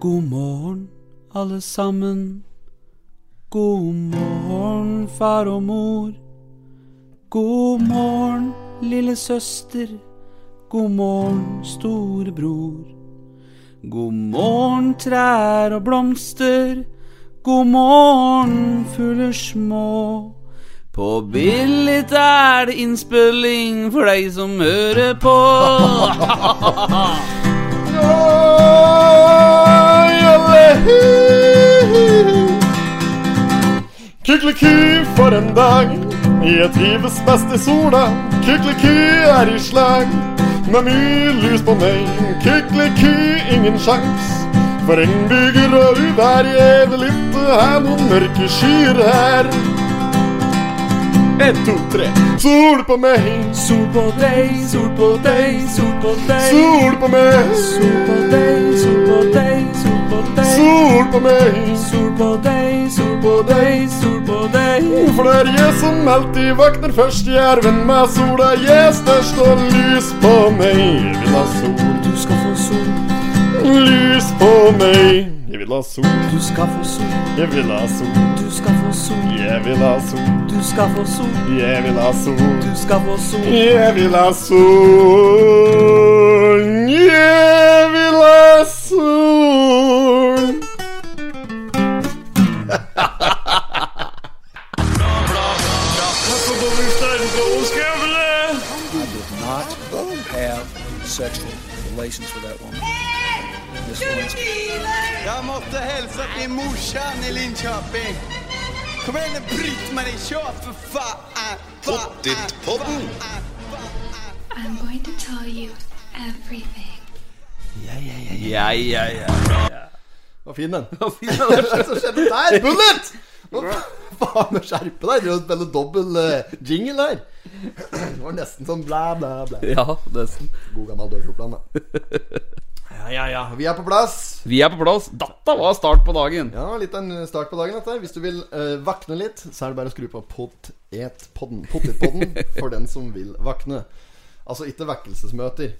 God morgen, alle sammen. God morgen, far og mor. God morgen, lille søster. God morgen, storebror. God morgen, trær og blomster. God morgen, fugler små. På Billit er det innspilling for deg som hører på. Kykeliky for en dag. Jeg trives best i sola. Kykeliky er i slag. Med mye lys på meg. Kykeliky, ingen sjans. For regnbyger og uvær, jeg vil ikke ha noen mørke skyer her. En, to, tre. Sol på meg, Sol på deg, sol på deg, sol på deg. sol på meg, Sol på deg, sol på deg, sol på deg. sol på meg. Sol på deg, sol på deg, sol på deg. For det er jeg som alltid våkner først. Jeg er venn med sola, jeg er størst, og lys på meg. Jeg vil ha sol, Du skal få sol, lys på meg. Jeg vil ha sol, du skal få sol, jeg vil ha sol, du skal få sol, jeg vil ha sol, du skal få sol, jeg vil ha sol. du skal få sol. Jeg vil ha sol, jeg vil ha sol. not have sexual relations with that woman. This woman's Jeg måtte hilse til morsan i Linköping. Kom igjen, Britt-Marie, kjør for faen! Pottit-podden! I'm going to tell you everything. Ja, ja, ja. Var fin, den. Hva er det som skjedde der? Bullet! Nå fa- faen må skjerpe deg. Du spiller dobbel eh, jingle her. Det var nesten sånn blæ, blæ, blæ. Ja, nesten. God gammel dørskjortplan, da. Ja, ja, ja. Vi er på plass. Vi er på plass. Dette var start på dagen. Ja, litt av en start på dagen dette. her. Hvis du vil eh, vakne litt, så er det bare å skru på potetpodden. Potetpodden for den som vil vakne. Altså ikke vekkelsesmøter.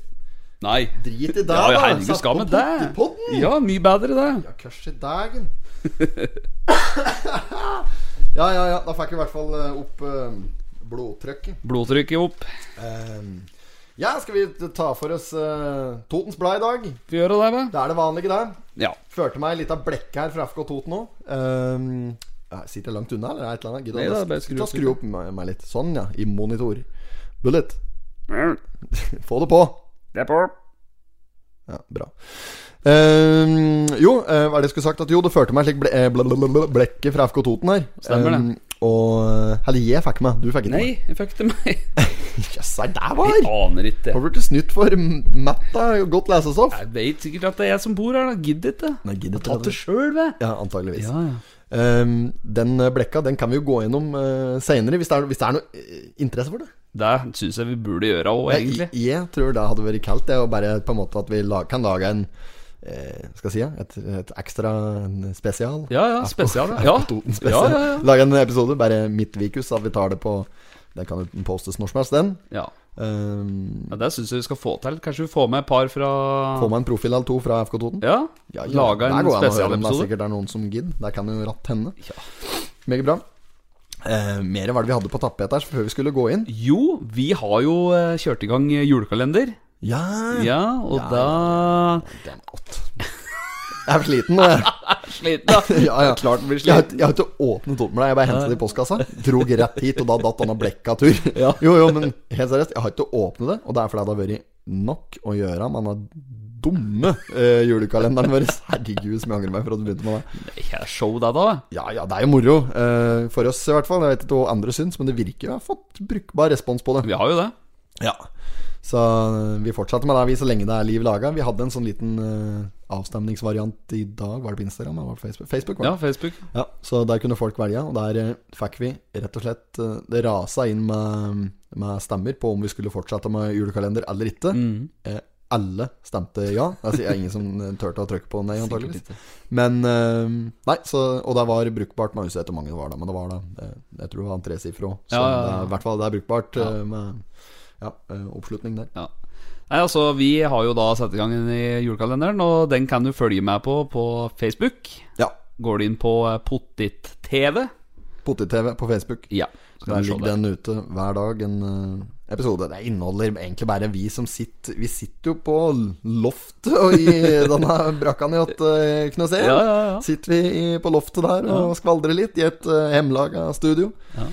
Nei. Drit i det, Ja, ja, herregud, Sett skal på vi det? potetpodden. Ja, mye bedre det. Ja, kørs i dagen. ja, ja, ja. Da fikk vi i hvert fall eh, opp eh, blodtrykket. Blodtrykket opp. Ehm, ja, skal vi ta for oss eh, Totens Blad i dag? Vi gjør det, vel? Det er det vanlige, det. Ja. Førte meg litt av blekket her fra FK Toten òg. sitter jeg langt unna, eller er det et eller annet? Gidder Nei, du da, å- bare skru ta opp skru litt. opp meg, meg litt. Sånn, ja. I monitor. Bullet, få det på. Det er på. Ja, bra. Ehm, jo, eh, hva er det jeg skulle sagt? At jo, det førte meg slik ble, eh, bla- bla- bla- bla- blekket fra FK Toten her. Stemmer det. Ehm, og Eller jeg fikk meg, du fikk ikke meg. Nei, jeg fuckte meg. Jøss, er det Jeg var? aner ikke. Har du blitt snytt for m- matta godt lesestoff? Jeg vet sikkert at det er jeg som bor her, da. Gidder ikke. Nei, gidder ikke. Tatt det sjøl, vet Ja, antageligvis. Ja, ja. Ehm, den eh, blekka den kan vi jo gå gjennom uh, seinere, hvis, det er- hvis det er noe eh, interesse for det. Det syns jeg vi burde gjøre òg, Jeg, egentlig. jeg tror det hadde vært kaldt, det. Og bare på en måte at vi la, kan lage en eh, Skal jeg si ja, et, et ekstra en spesial. Ja, ja, spesial. Ja, Toten ja, spesial. ja, ja. Lage en episode, bare midtvikus, at vi tar det på Den kan jo postes når som helst, den. ja. Um, ja det syns jeg vi skal få til. Kanskje vi får med et par fra Få meg en profil eller to fra FK Toten. Ja. Ja, ja, Laga der en går an å høre om Det er spesialepisode. sikkert er noen som gidder. Der kan jo ratt hende. Ja. Meget bra. Eh, mer var det vi hadde på tapetet her før vi skulle gå inn. Jo, vi har jo eh, kjørt i gang eh, julekalender. Ja, Ja, og da Det er godt. Jeg er sliten nå, jeg. Sliten, da. Ja, ja. Klart den blir Jeg har, sliten. jeg har ikke åpnet opp med deg, jeg bare hentet det i postkassa. Drog rett hit, og da datt han av blekka tur. Jo, jo, men helt seriøst, jeg har ikke åpnet det, og det er fordi det har vært nok å gjøre med denne dumme eh, julekalenderen vår. Herregud, som jeg angrer meg for at du begynte med det. Det er show, det, da. Ja ja, det er jo moro. eh, for oss, i hvert fall. Jeg vet ikke hva andre syns, men det virker jo jeg har fått brukbar respons på det. Vi har jo det. Ja Så eh, vi fortsetter med det vi så lenge det er liv laga. Vi hadde en sånn liten eh, avstemningsvariant i dag. Var det på Instagram? eller Var det på Facebook? Facebook var det. Ja, Facebook. Ja, så der kunne folk velge, og der eh, fikk vi rett og slett eh, Det rasa inn med, med stemmer på om vi skulle fortsette med julekalender eller ikke. Mm. Eh, alle stemte ja. Altså, det er ingen som eh, turte å trykke på nei, antakeligvis. Men eh, Nei, så, og det var brukbart med huset etter mange det var da, men det var da eh, Jeg tror det var en tresifra òg, så Ja, ja, ja. det er i hvert fall det er brukbart eh, med ja, eh, oppslutning der. Ja. Nei, altså, Vi har jo da satt i gang den i julekalenderen, og den kan du følge med på på Facebook. Ja. Går du inn på eh, Pottit-TV? Potet-TV på Facebook. Ja. Skal Der du se ligger det. den ute hver dag, en eh, episode. Det inneholder egentlig bare vi som sitter Vi sitter jo på loftet og i denne brakka ni åtte Knøsén. Ja, ja, ja. Sitter vi i, på loftet der og skvaldrer litt i et uh, hemmelaga studio. Ja.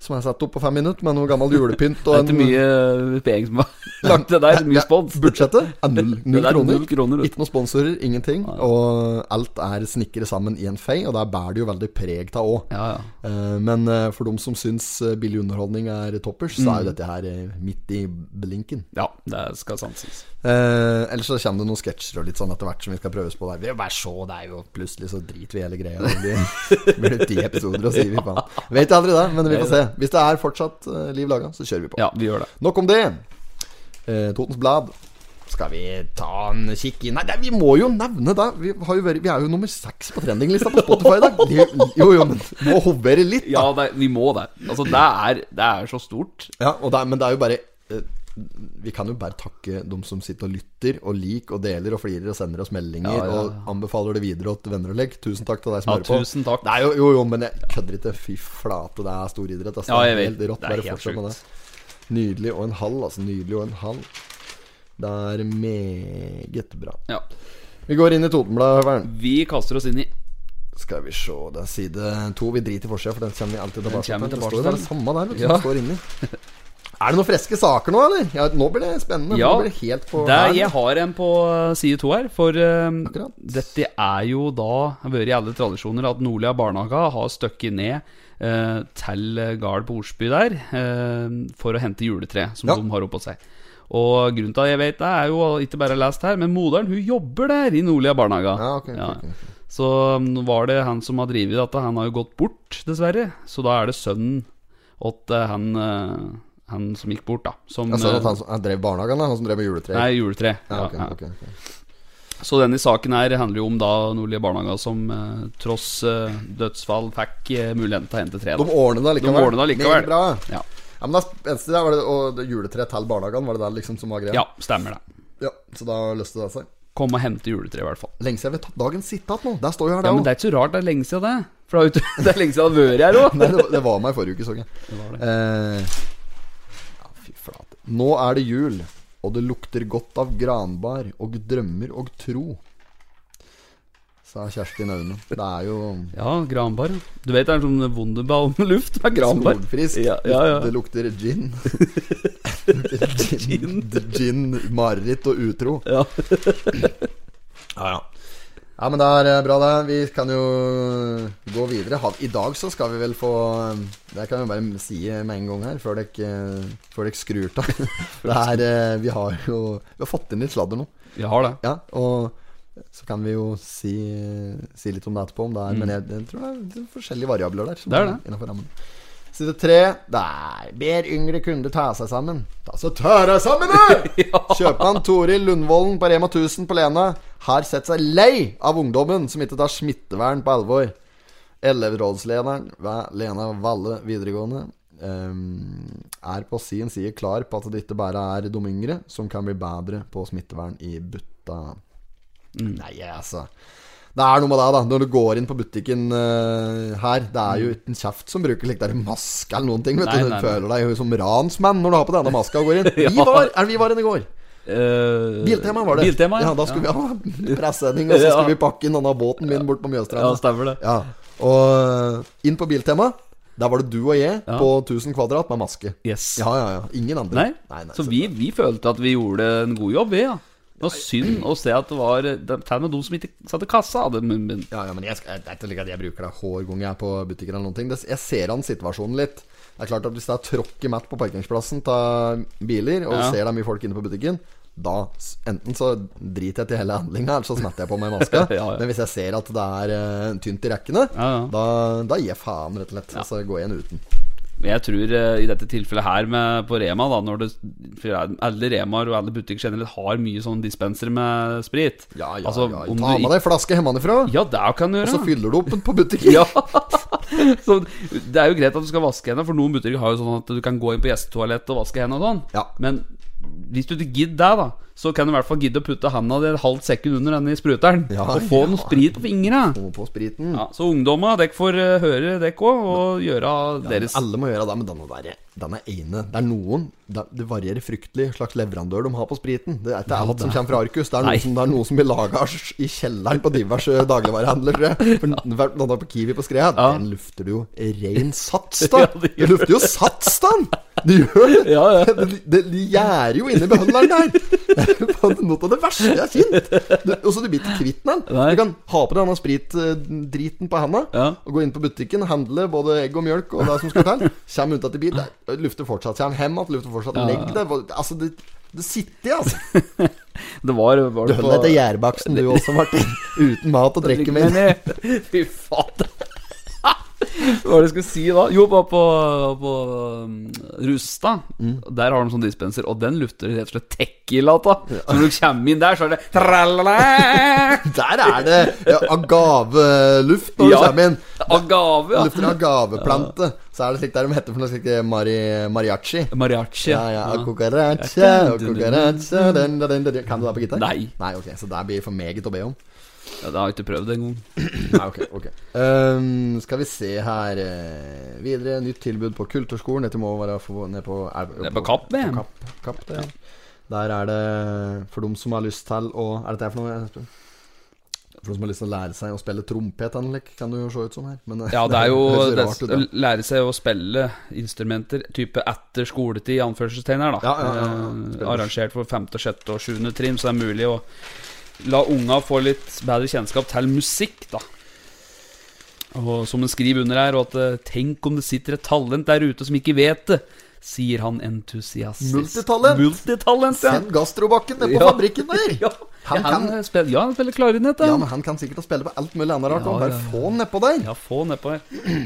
Som er satt opp på fem minutter med noe gammel julepynt Det og er ikke mye eh, penger som har lagt til der. Mye spons. Budsjettet er null, Det null er kroner. null kroner, vet du. Ikke noen sponsorer, ingenting. Og alt er snikret sammen i en fei, og der bærer det jo veldig preg av òg. Ja, ja. Eh, Men eh, for dem som syns eh, billig underholdning er toppers, så Mm. er jo dette her eh, midt i blinken. ja, det skal sanses. Eh, ellers så kommer det noen sketsjer og litt sånn etter hvert som vi skal prøves på der. Vi bare så, det er jo plutselig så driter vi i hele greia. Det blir- det blir ti episoder, og så gir vi faen. Vet jeg aldri det, men vi får se. Hvis det er fortsatt eh, liv laga, så kjører vi på. Ja, vi gjør det. Nok om det. Eh, Totens Blad. Skal vi ta en kikk inn Nei, nei, vi må jo nevne det. Vi, har jo vært, vi er jo nummer seks på trendinglista på Spotify i dag. Det- Jo, jo, men må hovere litt, da. Ja, det, vi må det. Altså, det er, det er så stort. Ja, og det er, men det er jo bare eh, Vi kan jo bare takke de som sitter og lytter og liker og deler og flirer og sender oss meldinger Ja, ja, ja. og anbefaler det videre til venner og legg. Tusen takk til deg som Ja, hører på. tusen takk. Det er jo, jo, jo, men jeg kødder ikke. Fy flate, det er stor idrett. Altså. Ja, jeg Det er vet. Helt rått. Det er Bare helt fortsett med det. Nydelig og en halv, altså. Nydelig og en halv. Det er meget bra. Ja. Vi går inn i Totenbladet, Høveren. Vi kaster oss inn i Skal vi se, det er side to. Vi driter i forsida, for den kommer vi alltid tilbake kommer til. Det tilbake står jo til. det samme der, vet du. Ja. som Står inni. Er det noen friske saker nå, eller? Ja, nå blir det spennende. Ja, nå blir det helt på Det er, hælen. jeg har en på eh, side to her, for eh, Akkurat. dette er jo da har vært i alle tradisjoner at Nordlia barnehage har støkket ned eh, til eh, gard på Osby der eh, for å hente juletre som Ja. de har oppå seg. Og grunnen til at jeg vet det, er jo ikke bare lest her, men moderen hun jobber der i Nordlia barnehage. Ja, ok, ok, ok. Så mm, var det han som har drevet dette, han har jo gått bort, dessverre. Så da er det sønnen åt eh, han, eh, han som gikk bort, da. Som, Jeg så eh, at han, som, han drev barnehagen, da, han som drev med juletre. Nei, juletre. ja, ok, Ja, ja. ok, ok. Så denne saken her handler jo om da Nordlige barnehager som eh, tross eh, dødsfall fikk eh, muligheten til å hente tre. De Da. ordner det likevel. De ordner det likevel. Meget Bra. Ja. Ja, men det eneste der var det, og det juletre til barnehagen, var det der liksom som var greia? ja, stemmer det. Ja, så da løste det seg. Kom og hente juletre, i hvert fall. Lenge siden vi har tatt dagens sitat nå. Der står jo her, Ja, det Men det er ikke så rart, det er lenge siden det. For det er, jo ikke- det er lenge siden det har vært her òg. Nei, det, det var meg i forrige uke, så jeg. Eh, ja, fy flate. Nå er det jul, og det lukter godt av granbar og drømmer og tro. Sa Kjerstin Aune. Det er jo Ja, granbar. ja. Du vet det er en sånn Wunderbaum luft med granbar. solfrisk. Ja, ja, ja. Det lukter gin. gin. Gin, mareritt og utro. Ja. Ja, ja. Ja, men det er eh, bra, det. Vi kan jo gå videre. Ha- I dag så skal vi vel få eh, Det kan vi bare si med en gang her, før dere, eh, før dere skrur av. Det er eh, Vi har jo Vi har fått inn litt sladder nå. Vi har det. Ja, og så kan vi jo si, eh, si litt om det etterpå, om det er Men jeg, jeg tror det er litt forskjellige variabler der. Mm. som Det er det. innenfor rammen. Side tre. Der. Ber yngre kunde ta seg sammen. Ta så ta deg sammen, du! Kjøpmann Toril Lundvolden på Rema 1000 på Lena har sett seg lei av ungdommen som ikke tar smittevern på alvor. Elevrådslederen ved Lena Valle videregående ehm, er på sin side klar på at det ikke bare er de yngre som kan bli bedre på smittevern i butta. Mm. Nei, altså. Det er noe med det, da. Når du går inn på butikken eh, her Det er jo ikke en kjeft som bruker slik der maske eller noen ting. Vet Mm. Nei, du. du nei, nei. føler deg jo som ransmann når du har på denne maska og går inn. Vi var, er det vi var inne i går? Eh, Biltema var det. Biltema, ja. Da skulle vi ha presenning, og så Ja. skulle vi pakke inn denne båten min bort på Mjøstranda. Ja, stemmer det. Ja, og inn på Biltema. Der var det du og jeg på 1000 kvadrat med maske. Yes. Ja, ja, ja. Ingen andre. Nei. så vi, vi følte at vi gjorde en god jobb, vi, ja. Det var synd å se at det var det- Til og med de som ikke satt i kassa, hadde munnbind. Ja, ja, men jeg, skal, det er ikke slik at jeg bruker det hver gang jeg er på butikken eller noen ting. Det, jeg ser an situasjonen litt. Det er klart at Hvis det er tråkket matt på parkeringsplassen av biler, og du Ja. ser det er mye folk inne på butikken, da s- enten så driter jeg til hele handlinga, eller så smetter jeg på meg maska. Ja, ja. Men hvis jeg ser at det er eh, tynt i rekkene, Ja, ja. Da, da gir jeg faen, rett og slett. Og så går jeg inn uten. Men jeg tror eh, i dette tilfellet her med, på Rema da, når det, for Alle Remaer og alle butikker generelt har mye sånn dispenser med sprit. Ja, ja, Altså, ja. om du Ta med ikke- deg flaske hjemmefra, Ja, det kan du og så gjøre. fyller du opp den på butikken. Ja. så det er jo greit at du skal vaske hendene, for noen butikker har jo sånn at du kan gå inn på gjestetoalett og vaske hendene og sånn. Ja. Men Hvis du ikke gidder det, da så kan du i hvert fall gidde å putte handa di et halvt sekund under denne spruteren. Ja, og få ja. noe sprit på fingra. Få på spriten. Ja, så ungdomma, dere får eh, høre dere òg, og gjøre deres Alle må gjøre det, men den må være Den er ene. Det er noen Det, det varierer fryktelig slags leverandør de har på spriten. Det er ikke alt som kommer fra Arkus. Det er Nei. noe som, det er noe som blir laga i kjelleren på diverse dagligvarehandlere. For den var- den var på Kiwi på Skrea, Ja. den lufter du jo rein sats, da! Ja, det gjør Du lufter jo sats, da! Du gjør det! Ja, ja. Det, det, det gjærer jo inni behandleren der. Det er jo faen noe av det verste jeg har kjent. Du- Og så du blir ikke kvitt den. Nei. Du kan ha på deg denne spritdriten eh, på handa. Ja. Og gå inn på butikken, handle både egg og mjølk og det som skal til. Kjem ut etter bit, der. lufter fortsatt. Kjem hjem igjen, lufter fortsatt. Legg deg. Altså, det, det sitter, altså. Det var, var Du det holder deg til gjærbaksten, du også, Martin. Uten mat og drikke med. Drikkemeny. Fy fader. Hva var det jeg skulle si da? Jo, bare på, på um, Rustad. Mm. Der har de sånn dispenser, og den lukter rett og slett Tequila av. Så når du kommer inn der, så er det tralala, Der er det ja, agaveluft når Ja. du kommer inn. Agave, ja. Lufter agaveplante. Så er det slik der de heter for noe slikt eh, mari, mariachi. Mariachi. Ja, ja. Cucaracha, cucaracha den, den, den, den. Kan du det på gitar? Nei. Nei, ok, Så det blir for meget å be om. Ja, Det har jeg ikke prøvd engang. Nei, ok, ok Ehm, Skal vi se her eh, Videre, nytt tilbud på kulturskolen Dette må være for, ned på er, er på Kapp, det. Kapp, Kapp, det. Der er det For dem som har lyst til å Er dette her for noe? jeg spør? For dem som har lyst til å lære seg å spille trompet Henrik, Kan du jo se ut som her men, eh, Ja, det er jo høres det, rart å ut, da. lære seg å spille instrumenter type etter skoletid, i anførselstegn her, da. Ja, ja, ja, ja. Eh, Spiller. Arrangert for femte, sjette og sjuende trim, så det er mulig å la unga få litt bedre kjennskap til musikk, da. Og som en skriver under her, og at eh, 'tenk om det sitter et talent der ute som ikke vet det', sier han entusiastisk. Multitalent. Multitalent, ja. Send Gastrobakken ned på Ja. fabrikken der Ja, Han han, ja, kan- han spiller, ja, han spiller klarinett, Ja, ja. men han kan sikkert å spille på alt mulig annet rart Ja, da. Bare ja, ja. få han ned på der Ja, få nedpå her.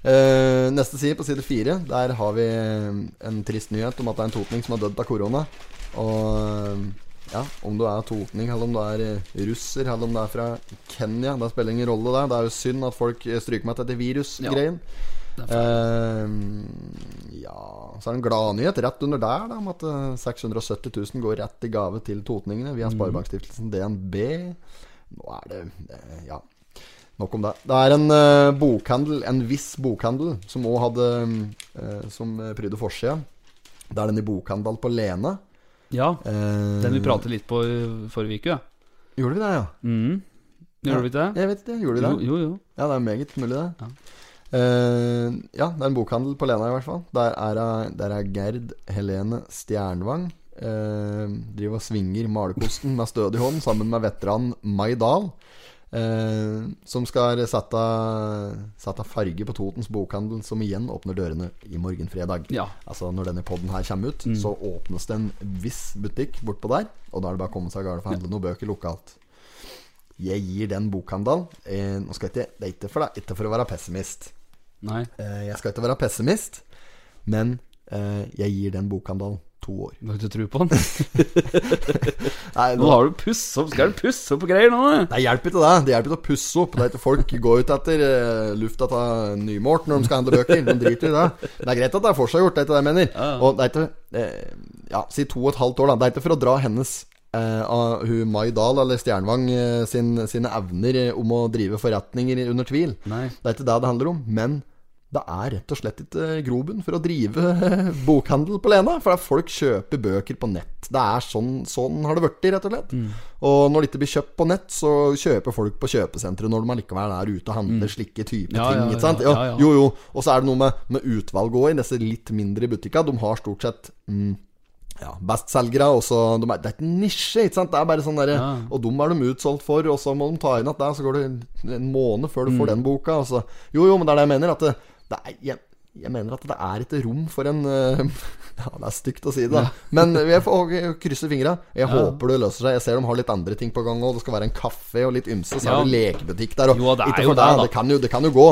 Eh, neste side, på side fire, der har vi eh, en trist nyhet om at det er en totning som har dødd av korona. Og eh, ja, om du er totning, eller om du er eh, russer, eller om du er fra Kenya, det spiller ingen rolle der. Det er jo synd at folk eh, stryker meg til dette virusgreien. det er Ja. ja Så er det en gladnyhet rett under der da, om at eh, 670 000 går rett i gave til totningene Mm. via Sparebankstiftelsen DNB. Nå er det eh, Ja. Nok om det. Det er en eh, bokhandel, en viss bokhandel, som òg hadde eh, Som eh, prydde forsida. Det er denne bokhandelen på Lena. Ja, Eh, den vi pratet litt på eh, forrige uke, ja. Gjorde vi det, ja? Mm. Gjorde vi ikke det? Jeg vet ikke, gjorde vi det? Jo, jo, jo. Ja, det er meget mulig, det. Ja. Ja. ja, det er en bokhandel på Lena, i hvert fall. Der er, hun- der er Gerd Helene Stjernvang. eh, driver og svinger malerkosten med stødig hånd sammen med veteranen Mai Dahl. eh, som skal sette, sette farge på Totens bokhandel, som igjen åpner dørene i morgen fredag. Ja. Altså Når denne podden her kommer ut, så åpnes det en viss butikk bortpå der. Og da er det bare å komme seg av gårde for å handle noen bøker lokalt. Jeg gir den bokhandelen eh, Nå skal jeg ikke, Det er ikke for, deg, ikke for å være pessimist. Nei. Eh, jeg skal ikke være pessimist, men eh, jeg gir den bokhandelen to år. Du har ikke tro på den? Nei, Nå nå, har du pusse opp Skal du pusse opp greier nå? det hjelper ikke det. Det hjelper ikke å pusse opp. Det er ikke folk går ut etter eh, lufta av nymålt når de skal handle bøker. De driter i det. Det er greit at det er forseggjort, det er ikke det jeg mener. Ja, ja. Og det er ikke eh, Ja, si to og et halvt år, da. Det er ikke for å dra hennes eh, av hun Mai Dahl eller Stjernvang eh, sin, sine evner eh, om å drive forretninger under tvil. Nei. Det er ikke det det handler om, men det er rett og slett ikke grobunn for å drive eh, bokhandel på Lena. For det er folk kjøper bøker på nett. Det er sånn, sånn har det blitt, rett og slett. Mm. Og når det ikke blir kjøpt på nett, så kjøper folk på kjøpesentre når de likevel er ute og handler slike type Mm. Ja, ting. ja, ikke sant? ja, ja, ja. Jo, jo. Og så er det noe med, med utvalget òg i disse litt mindre butikka. De har stort sett mm, ja, bestselgere. og så- de er- Det er ikke en nisje, ikke sant? Det er bare sånn derre Ja. Og dem er de utsolgt for, og så må de ta inn at det, så går det en- en måned før du Mm. får den boka. Og så, jo, jo, men det er det jeg mener. At det, det er, jeg, jeg mener at det er ikke rom for en eh, Ja, det er stygt å si det, da. men jeg får jeg krysser fingra. Jeg håper det løser seg. Jeg ser de har litt andre ting på gang òg. Det skal være en kafé og litt ymse, så Ja. er det lekebutikk der. Og Jo, det er ikke jo for det, deg, da. det, kan jo, det kan jo gå.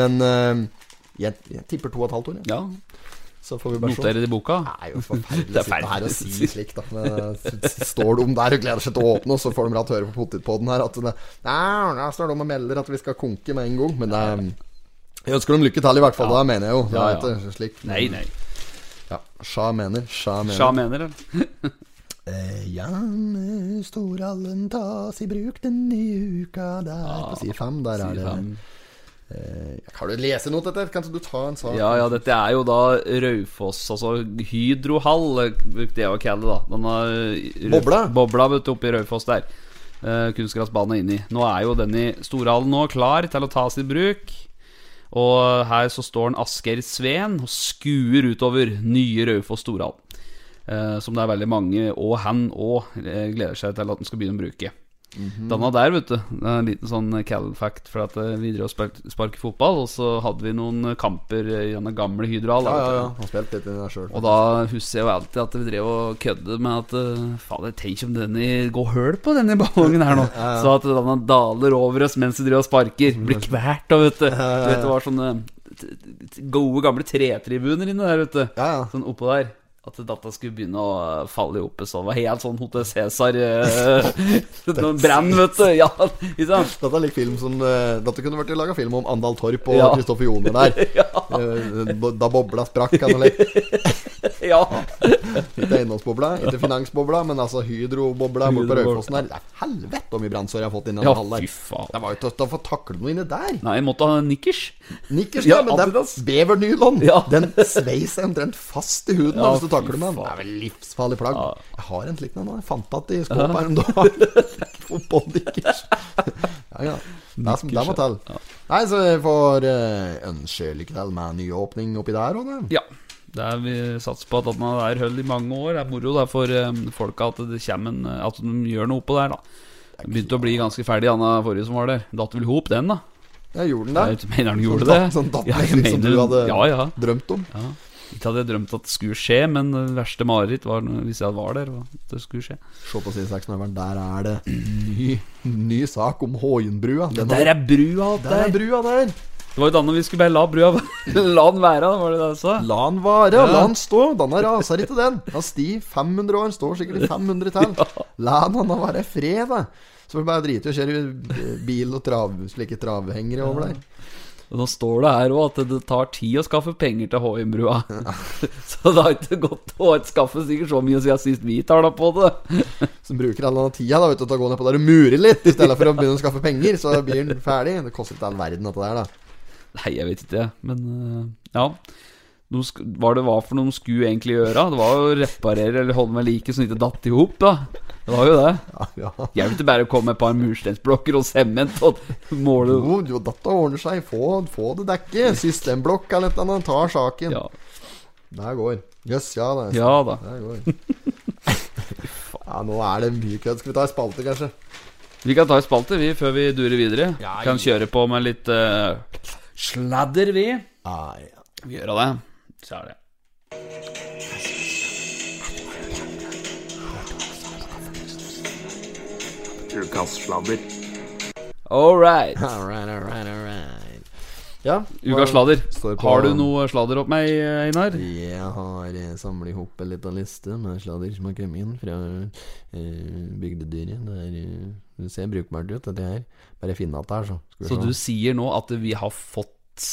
Men eh, jeg, jeg tipper to og et halvt år, jeg. Ja, Så får vi bare se. noter det i boka. Det er jo forferdelig Det å er sitte her og fælt. si slikt, da. Men eh, s- står de der og gleder seg til å åpne, og så får de rett høre på potetpodden her at det, Nei, der står de og melder at vi skal konke med en gang. eh, Men det er jeg ønsker dem lykke til, i hvert fall. Da mener jeg jo. Det Ja, er ja. ikke slik. Nei, nei. Ja. Sja mener. Sja mener. Sja mener, eller? Eh, Janne Storhallen tas i bruk den nye uka der På side fem, der er det eh, Kan du lese noe etter? Kan ikke du ta en sak? Ja, ja, dette er jo da Raufoss, altså Hydrohall, eh, brukte jeg å kalle det. da Denne eh, Rau- Bobla. Bobla vet du, oppe i Raufoss der. Eh, kunstgressbanen er inni. Nå er jo den i Storhallen nå klar til å tas i bruk. Og her så står en Asgeir Sveen og skuer utover nye Raufoss Storhall. Eh, som det er veldig mange, og han òg, gleder seg til at han skal begynne å bruke. Mhm. Danna der, vet du. Det er En liten sånn cal fact. For at eh, vi drev og spil- sparket fotball, og så hadde vi noen eh, kamper i den gamle Hydrohall. ja, da, ja, vet du. ja. Han spilte litt i den sjøl. Og da husker jeg jo alltid at vi drev og kødde med at eh, Fader, tenk om denne går høl på denne ballongen her nå. Så at den daler over oss mens vi driver og sparker. Mm. Blir kvært, da, vet du. Du vet det var sånne t- t- gode, gamle tretribuner inne der, vet du. Ja, ja. Sånn oppå der. At data skulle begynne å eh, falle i hopet. Så det var helt sånn Hotel Cæsar eh, Noen brann, vet du. Ja, ikke sant? Dette er lik film som eh, Dette kunne vært laga film om Andal Torp og Ja. Kristoffer Joner der. Eh, bo- Da bobla sprakk, kan du leke. Ja. Ikke eiendomsbobla, ikke finansbobla, men altså hydrobobla borte på Hydrobobla. Raufossen der. Det er helvete hvor mye brannsår jeg har fått inni den ja, hallen fy der. Det faen. var jo ikke til å få takle noe inni der. Nei, jeg måtte ha nikkers. Nikkers, Ja, ja, men det Adidas. er bevernylon. Ja. Den sveis seg omtrent fast i huden da, Ja, hvis du takler fy med den. faen. Det er vel livsfarlig plagg. Ja. Jeg har en slik en nå. Jeg fant at i skåpet her om dagen. Fotballnikkers. Ja, ja. Det, er som, det må til. Nei, så vi får eh, ønske lykke til med nyåpning oppi der òg, da. Ja. Det er, vi satser på at at man er høll i mange år. Det er moro det er for eh, folka at det kommer en eh, At de gjør noe oppå der, da. Den Begynte å bli ganske ferdig, Anna forrige som var der. Datt vel i hop, den, da. Jeg gjorde den der. Jeg mener han gjorde sånn, det. datt- Sånn Ja, jeg dattning som mener- du hadde Ja, ja. drømt om. Ikke hadde jeg drømt at det skulle skje, men det verste mareritt var når- hvis jeg var der. og at Det skulle skje Se på side 6 der er det ny, ny sak om Håienbrua. Den har- Der er brua opp der der! er brua der! Det var jo denne vi skulle bare la brua La den være, var det det jeg sa? La han vare, la han stå. Den har rasa ikke, den. Han sti 500 år, han står sikkert i 500 til. La han han være i fred, da. Så får vi bare drite i å kjøre bil og trav, slike travhengere over der. Og Nå står det her òg at det tar tid å skaffe penger til Håimbrua. så det har ikke gått å skaffe sikkert så mye siden sist vi tar da på det. Som bruker all den tida da, vet du, til å gå ned på der og mure litt, i stedet for å begynne å skaffe penger. Så blir han ferdig. Det koster ikke all verden, dette der, da. Nei, jeg vet ikke, men øh, ja. De sk hva det var for noe de skulle egentlig gjøre? Det var jo å reparere eller holde med like så den ikke datt i hop, da. Det var jo det. Ja, ja. Hjelper ikke bare å komme med et par mursteinsblokker og sement og måle Jo, jo, dette ordner seg. Få, få det dekket. Systemblokk eller et eller annet. Ta saken. Ja, Der går. Jøss, yes, ja. Det er ja da. Der går. Ja, nå er det mye kødd. Skal vi ta en spalte, kanskje? Vi kan ta en spalte, vi, før vi durer videre. Kan kjøre på med litt øh, sladder, vi. Ah, ja. Vi gjør det. Så er det. All right. Alright, alright, alright. Ja, Ukas sladder. Står på- Har du noe sladder opp meg, Einar? Jeg har eh, samlet ihop en liten liste med sladder som har kommet inn fra eh, bygdedyret. Det er, eh, det ser brukbart ut, dette her. Bare finn at det er, så. Skal vi Så se. du sier nå at vi har fått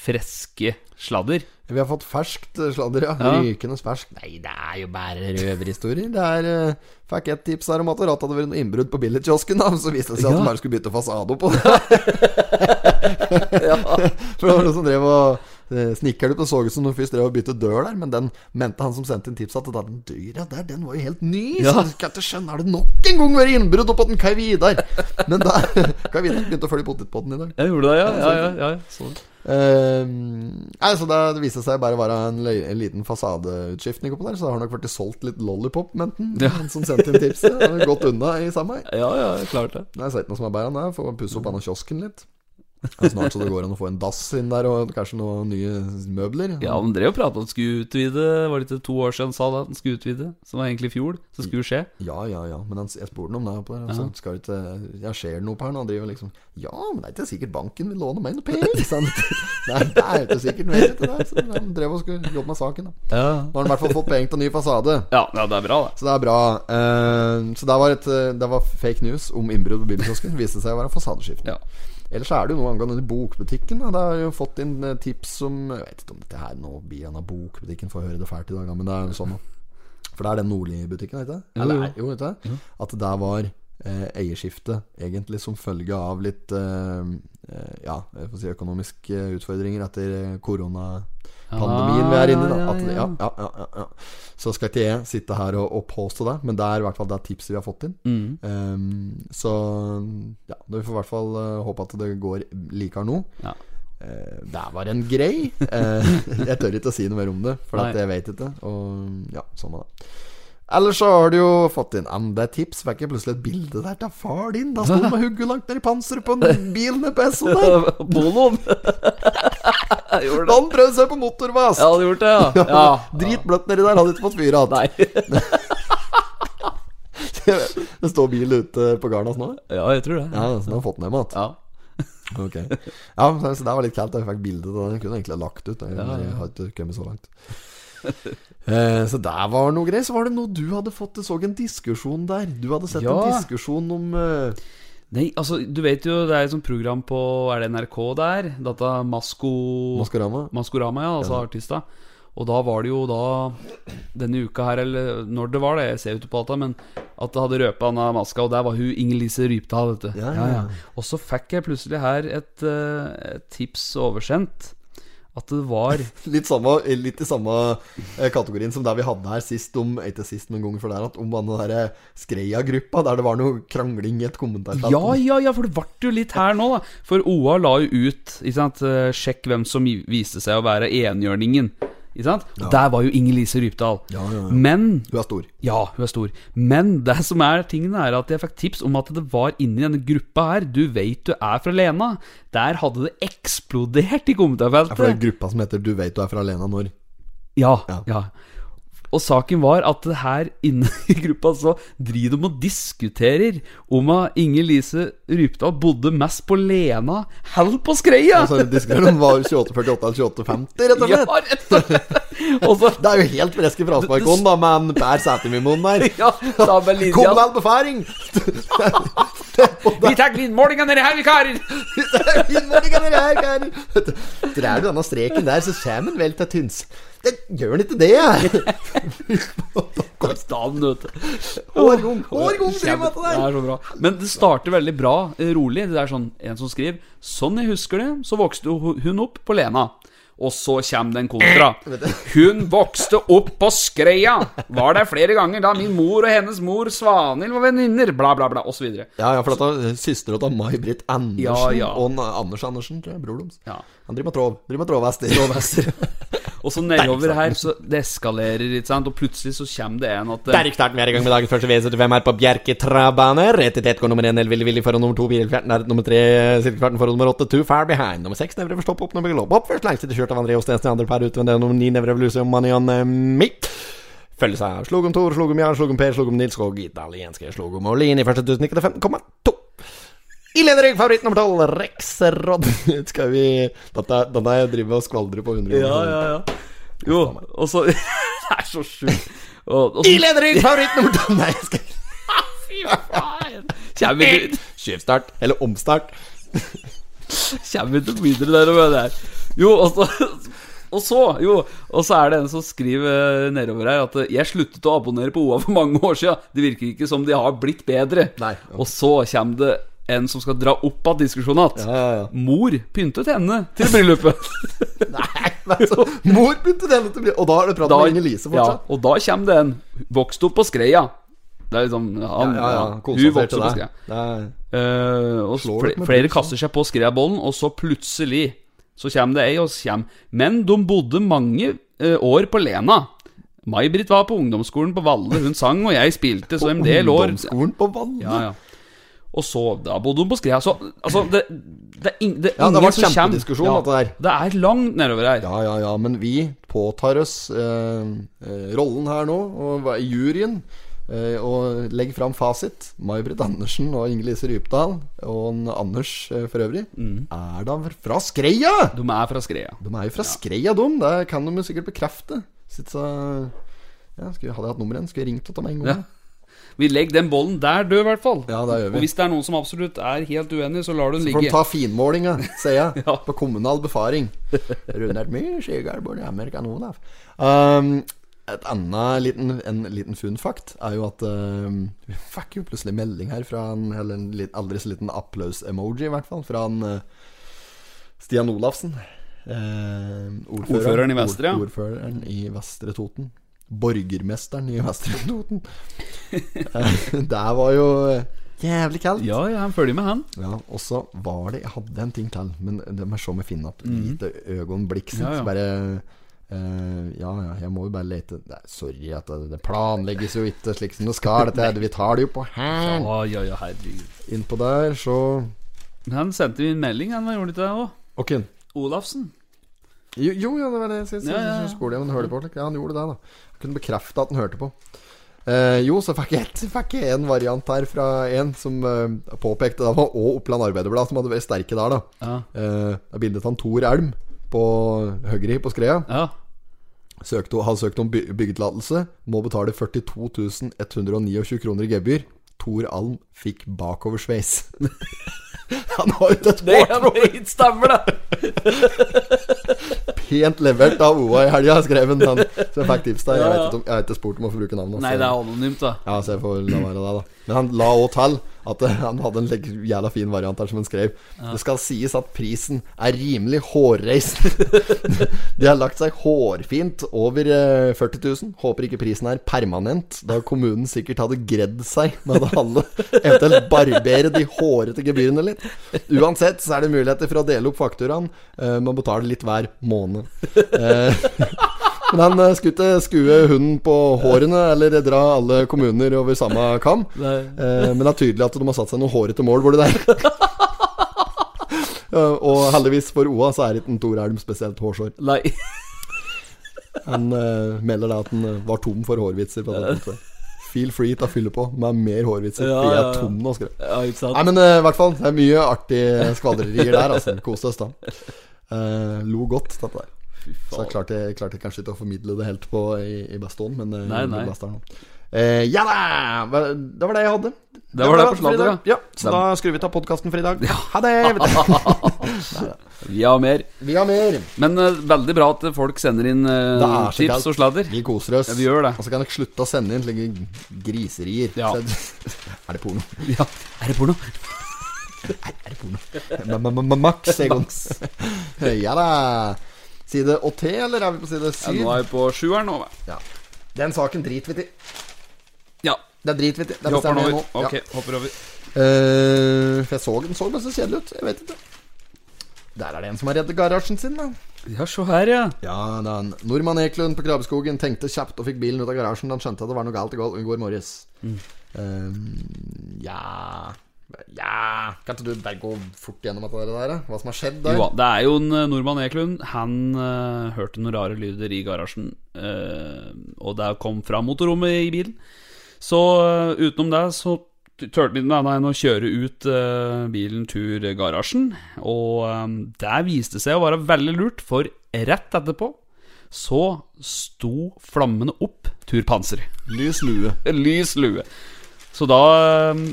friske sladder? Vi har fått ferskt eh, sladder, ja. Ja. Rykende ferskt. Nei, det er jo bare røverhistorier. Det er eh, Fikk et tips her om at det hadde vært noe innbrudd på billigkiosken, da. Så viste det seg Ja. at de bare skulle bytte fasade på det. For det var noen som drev og eh, snikker det på så ut som noen først drev og bytte dør der, men den mente han som sendte inn tipset, at den døra der, den var jo helt ny. Ja. Så kan jeg ikke skjønne, har det nok en gang vært innbrudd oppå den Kai Vidar? Men da Kai Vidar begynte å følge potetpotten i dag. Jeg gjorde det, ja. ja, ja, ja, ja. Så. Eh, nei, så det viste seg bare å være en, løy, en liten fasadeutskiftning oppå der, så det har nok vært solgt litt lollipop, menten, Ja. han som sendte inn tipset. Han har Gått unna i samme ja, ja klart det. Nei, jeg ser ikke noe som er bedre enn det. Få pusse opp denne kiosken litt. Det er snart så det går an å få en dass inn der, og kanskje noen nye møbler. Ja, Han drev og pratet om at han skulle utvide. Var det ikke to år siden han sa det? At han skulle utvide Som var egentlig i fjor. Så skulle det skje. Ja, ja, ja. Men han, jeg spurte ham om det. oppe der. Han sa, skal du ikke, jeg ser det noe på her nå. Han driver liksom Ja, men det er ikke sikkert banken vil låne meg noe penger. sa han. Nei, det er ikke sikkert. men jeg vet ikke det. Så han drev og skulle jobbe med saken. Da Ja, Nå har han i hvert fall fått penger til ny fasade. ja, ja det er bra, det. Så det er bra. Eh, så det var, et, eh, det var fake news om innbrudd på bilkiosken. Viste seg å være fasadeskifte. Ja. Ellers er det jo noe angående bokbutikken. Da. Da har jeg jo fått inn eh, tips om Jeg vet ikke om dette her nå blir en av bokbutikken, får høre det fælt i dag, da, men det er jo sånn. da. For det er den Nordli-butikken, vet du? Eller, jo. jo, vet du? At det der var eh, eierskifte, egentlig som følge av litt eh, eh, Ja, jeg får si økonomiske utfordringer etter eh, koronapandemien vi er inne i. Da. Ah, At, ja, det- ja, ja, ja, ja, ja. Så skal ikke jeg sitte her og, og påstå det, men det er i hvert fall det tipset vi har fått inn. Mm. Ehm, så ja, vi får i hvert fall eh, håpe at det går likere nå. Ja. Eh, det var en grei. Eh, jeg tør ikke å si noe mer om det, for at Nei. jeg vet ikke. Og ja, sånn er det. Ellers så har du jo fått inn enda et tips. Fikk jeg plutselig et bilde der av far din? Da sto han med hugget langt ned i panseret på en bil med peso der. Poloen! Gjorde Da han prøvde seg på motorvask. Ja, hadde gjort det, ja. ja. Dritbløtt nedi der, hadde ikke fått fyr igjen. Nei. Det står bil ute på garden hans nå? Ja, jeg tror det. Ja, så den har fått den hjem igjen. Ja. Ok Ja, så så det var litt kaldt. Jeg fikk bilde av den. Jeg kunne egentlig ha lagt ut. Jeg, Ja, ja. jeg har ikke kommet så langt. Eh, så der var noe greier. Så var det noe du hadde fått Jeg så en diskusjon der. Du hadde sett en Ja. diskusjon om eh, Nei, altså, du vet jo, det er et sånt program på Er det NRK der? Data Masko... Maskorama. Maskorama, ja, altså artista. Og da var det jo da denne uka her, eller når det var det, jeg ser jo ikke på data, men at det hadde røpa Anna Maska, og der var hun Inger-Lise Rypdal, vet du. Ja, ja, ja. Og så fikk jeg plutselig her et, eh, et tips oversendt. At det var Litt, samme, litt i samme eh, kategorien som der vi hadde her sist, om ikke sist, men gangen før der, at om den derre Skreia-gruppa, der det var noe krangling i et kommentarfelt. Ja, ja, ja, for det ble jo litt her nå, da. For OA la jo ut ikke sant? eh, Sjekk hvem som i- viste seg å være enhjørningen. Ikke sant? Og Der var jo Inger-Lise Rypdal. Ja, ja, ja. Men Hun er stor. Ja, hun er stor. Men det som er tingen er at jeg fikk tips om at det var inni denne gruppa her Du veit du er fra Lena. Der hadde det eksplodert i Ja, for det er kommentarfeltet. gruppa som heter 'Du veit du er fra Alena når'. Ja, Ja. ja. Og saken var at det her inne i gruppa så driver de og diskuterer om at Inger Lise Rypdal bodde mest på Lena eller på Skreia. Altså, Diskuterer om det var 2848 eller 2850, rett og Ja, slett. rett og slett. Og så Det er jo helt freske frasparkånd da med en Per Sætermimoen der. Ja, da med linja. Kom vel på færing! Vi tar vindmålinga nedi her, vi karer! Drar du denne streken der, så kommer han vel til Tyns. Det gjør han ikke det, jeg. Konstant, vet du. Årgang, årgang driver med Det det der. er så bra. Men det starter veldig bra, eh, rolig. Det er sånn en som skriver Sånn jeg husker det, så vokste ho- hun opp på Lena. Og så kommer den kontra. Hun vokste opp på Skreia. Var der flere ganger da min mor og hennes mor Svanhild var venninner. Bla, bla, bla, osv. Ja, ja, for dette er søstera til May-Britt Andersen Ja, ja. og en Anders Andersen, tror jeg. Bror deres. Ja. Han driver med tråv. Driver med tråvhester. Tråvhester. Og så nedover her, så det eskalerer, ikke sant. Og plutselig så kommer det en at eh, Bergstarten, vi er i gang med dagens første V75 her på Bjerke Trabaner. Etter går nummer én, Elvilly Willy foran nummer to, Bilfjerten er nummer tre, Silkekvarten foran nummer åtte, Too Far Behind. Nummer seks, Nevre Forstopp opp, nummer Globe opp. Først langside kjørt av André Ostensen, i andre par utvendig, nummer ni, Nevre Vluse og Manion eh, Mitt. Følges av Slogom Tor, Slogom Jarl, Slogom Per, Slogom Nils og italienske Slogom Olin i første 1095,2. I lederrygg, favoritt nummer tolv, Rex Rod. Skal vi Dette denne har jeg driver og skvaldrer på 100 Ja, ja, ja. Jo, og så Det er så sjukt. Og, og I så lederrygg, favoritt nummer tolv. Nei, jeg skal kommer vi Skjevstart, eller omstart. Kjem vi ikke videre der og med det her. Jo, og så og så, jo, og så er det en som skriver eh, nedover her at eh, 'jeg sluttet å abonnere på OA for mange år siden'. Det virker ikke som de har blitt bedre. Nei. Og så kommer det en som skal dra opp av diskusjonen igjen. Ja, ja, ja. Mor pyntet henne til bryllupet. Nei, men så Mor begynte det til å bli Og da har du pratet Da- med Inger-Lise fortsatt. Ja, og da kommer det en. Vokste opp på Skreia. Det er liksom han, Ja, ja, han- kosa Hun seg vokste opp til på deg. Skreia. Nei. Eh, og Slår fl dere med flere pølsa? kaster seg på skreabollen, og så plutselig så kommer det ei, og så kommer Men de bodde mange eh, år på Lena. May-Britt var på ungdomsskolen på Valle, hun sang, og jeg spilte, så en del år Ungdomsskolen på Valle. ja, ja. Og så Da bodde hun på Skreia. Så altså, det, det er ing, det er Ja, det ingen var som kommer- kjempediskusjon, Ja, dette det er langt nedover her. Ja, ja, ja, men vi påtar oss eh, eh, rollen her nå, og hva- i juryen, eh, og legger fram fasit. May-Britt Andersen og Inger-Lise Rypdal, og en Anders eh, for øvrig, er da fra Skreia! Mm. De er fra Skreia. De er jo fra Skreia, de. Det kan de jo sikkert bekrefte. Sitt så ja, skulle, hadde jeg hatt nummeret igjen, skulle jeg ringt til dem en gang. Ja. Vi legger den bollen der død, i hvert fall. Ja, det gjør Og vi. hvis det er noen som absolutt er helt uenig, så lar du den For de ligge. tar finmålinga, sier jeg. Ja. På kommunal befaring. Runert mye skygger borti Amerika noen av. Um, et annet liten, en liten fun fact er jo at um, vi fikk jo plutselig melding her fra en, eller en litt, aldri så liten applaus-emoji, i hvert fall, fra en eh, Stian Olafsen. Eh, Ordføreren i Vestre, ja. ord- Ordføreren i Vestre Toten. Borgermesteren i Vestre Toten. Eh, Der var jo eh, jævlig kaldt. Ja, ja, han følger med, han. Ja, og så var det Jeg hadde en ting til, men det må jeg se om jeg finner opp. Lite øyeblikk. Mhm. Ja, Ja, ja. ja. Bare eh, Ja, ja, jeg må jo bare lete Nei, Sorry at det, det planlegges jo ikke slik som det skal. Dette, her, vi tar det jo på her. Ja, ja, ja, herregud. Innpå der, så Men han sendte jo en melding, han gjorde ikke det òg? Ok. Olafsen. Jo, jo, ja, det var det jeg skulle si. Ja, ja, ja. Så skulle jeg, men hørte på. slik. Ja, han gjorde det, da. Jeg kunne bekrefte at han hørte på. Eh, jo, så fikk jeg, et, fikk jeg en variant her fra en som eh, påpekte Det var òg Oppland Arbeiderblad som hadde vært sterke der, da. Ja. Eh, Det er bildet av Tor Elm på Høgri på Skrea. ja. Søkte, han søkte om by byggetillatelse. Må betale 42 129 kroner i gebyr. Tor Alm fikk bakoversveis. han har jo et Det hårt, er noe ikke stemmer, det! pent levert av OA i helga, skrev han. han- sånn- Så jeg fikk tips der. Jeg vet ikke om- jeg har ikke spurt om å få bruke navnet. Nei, så- det er anonymt, da. Ja, så jeg får la være det, da. Men han la òg til at eh, han hadde en leg- jævla fin variant her som han skrev. Det skal sies at prisen er rimelig hårreisende. De har lagt seg hårfint over eh, 40 000. Håper ikke prisen er permanent, da kommunen sikkert hadde gredd seg med det halve. Eventuelt barbere de hårete gebyrene litt. Uansett så er det muligheter for å dele opp fakturaen. Eh, Man betaler litt hver måned. Eh, Men han eh, skulle ikke skue hunden på hårene eller dra alle kommuner over samme kam. Eh, men det er tydelig at de har satt seg noen hårete mål hvor det der. Ja, og heldigvis for OA så er ikke en Tor Elm spesielt hårsår. Nei. Han eh, melder da at han eh, var tom for hårvitser. På det punktet. Feel free til å fylle på med mer hårvitser. Ja, for jeg ja, er ja. tom nå, skrev jeg. Ja, ikke sant? Nei, men eh, i hvert fall. Det er mye artige skvadrerier der, altså. Kos oss, da. Eh, lo godt, dette der. Så jeg klarte, jeg klarte kanskje ikke å formidle det helt på i, i beste hånd, men eh, Nei, nei. det beste er nå. Eh, ja da! Hva- Det var det jeg hadde. Det var det på for i sladder, dag. ja. Så da skrur vi av podkasten for i dag. Ha det! Vi har mer. Vi har mer. Men eh, veldig bra at eh, folk sender inn eh, Det er så kaldt. tips og sladder. Vi koser oss. Ja, vi gjør det. Og så kan dere slutte å sende inn slike griserier. Ja. Så- Er det porno? Ja. Er det porno? M-m-m-max, Egon. Ja da. Side 8, eller er vi på side Ja, 7? nå er vi på sjueren nå. vel? Ja. Den saken driter vi til. Ja. Det driter vi til. Det Vi hopper bestemmer den vi nå. over. Ok, Ja. hopper over. Eh, for jeg så den så bare så kjedelig ut. Jeg vet ikke. Der er det en som har reddet garasjen sin, da. Ja, se her, ja. Ja, da en Nordmann Eklund på Krabbeskogen tenkte kjapt og fikk bilen ut av garasjen da han skjønte at det var noe galt i går- i går morges. Mm. Eh, ja Ja Kan ikke du bare gå fort gjennom dette der? da? Hva som har skjedd der? Jo, det er jo en eh, nordmann Eklund. Han eh, hørte noen rare lyder i garasjen, eh, og det kom fra motorrommet i bilen. Så eh, utenom det så turte vi denne enn å kjøre ut eh, bilen tur garasjen, og eh, det viste seg å være veldig lurt, for rett etterpå så sto flammene opp tur panser. Lys lue. Lys lue. Så da um,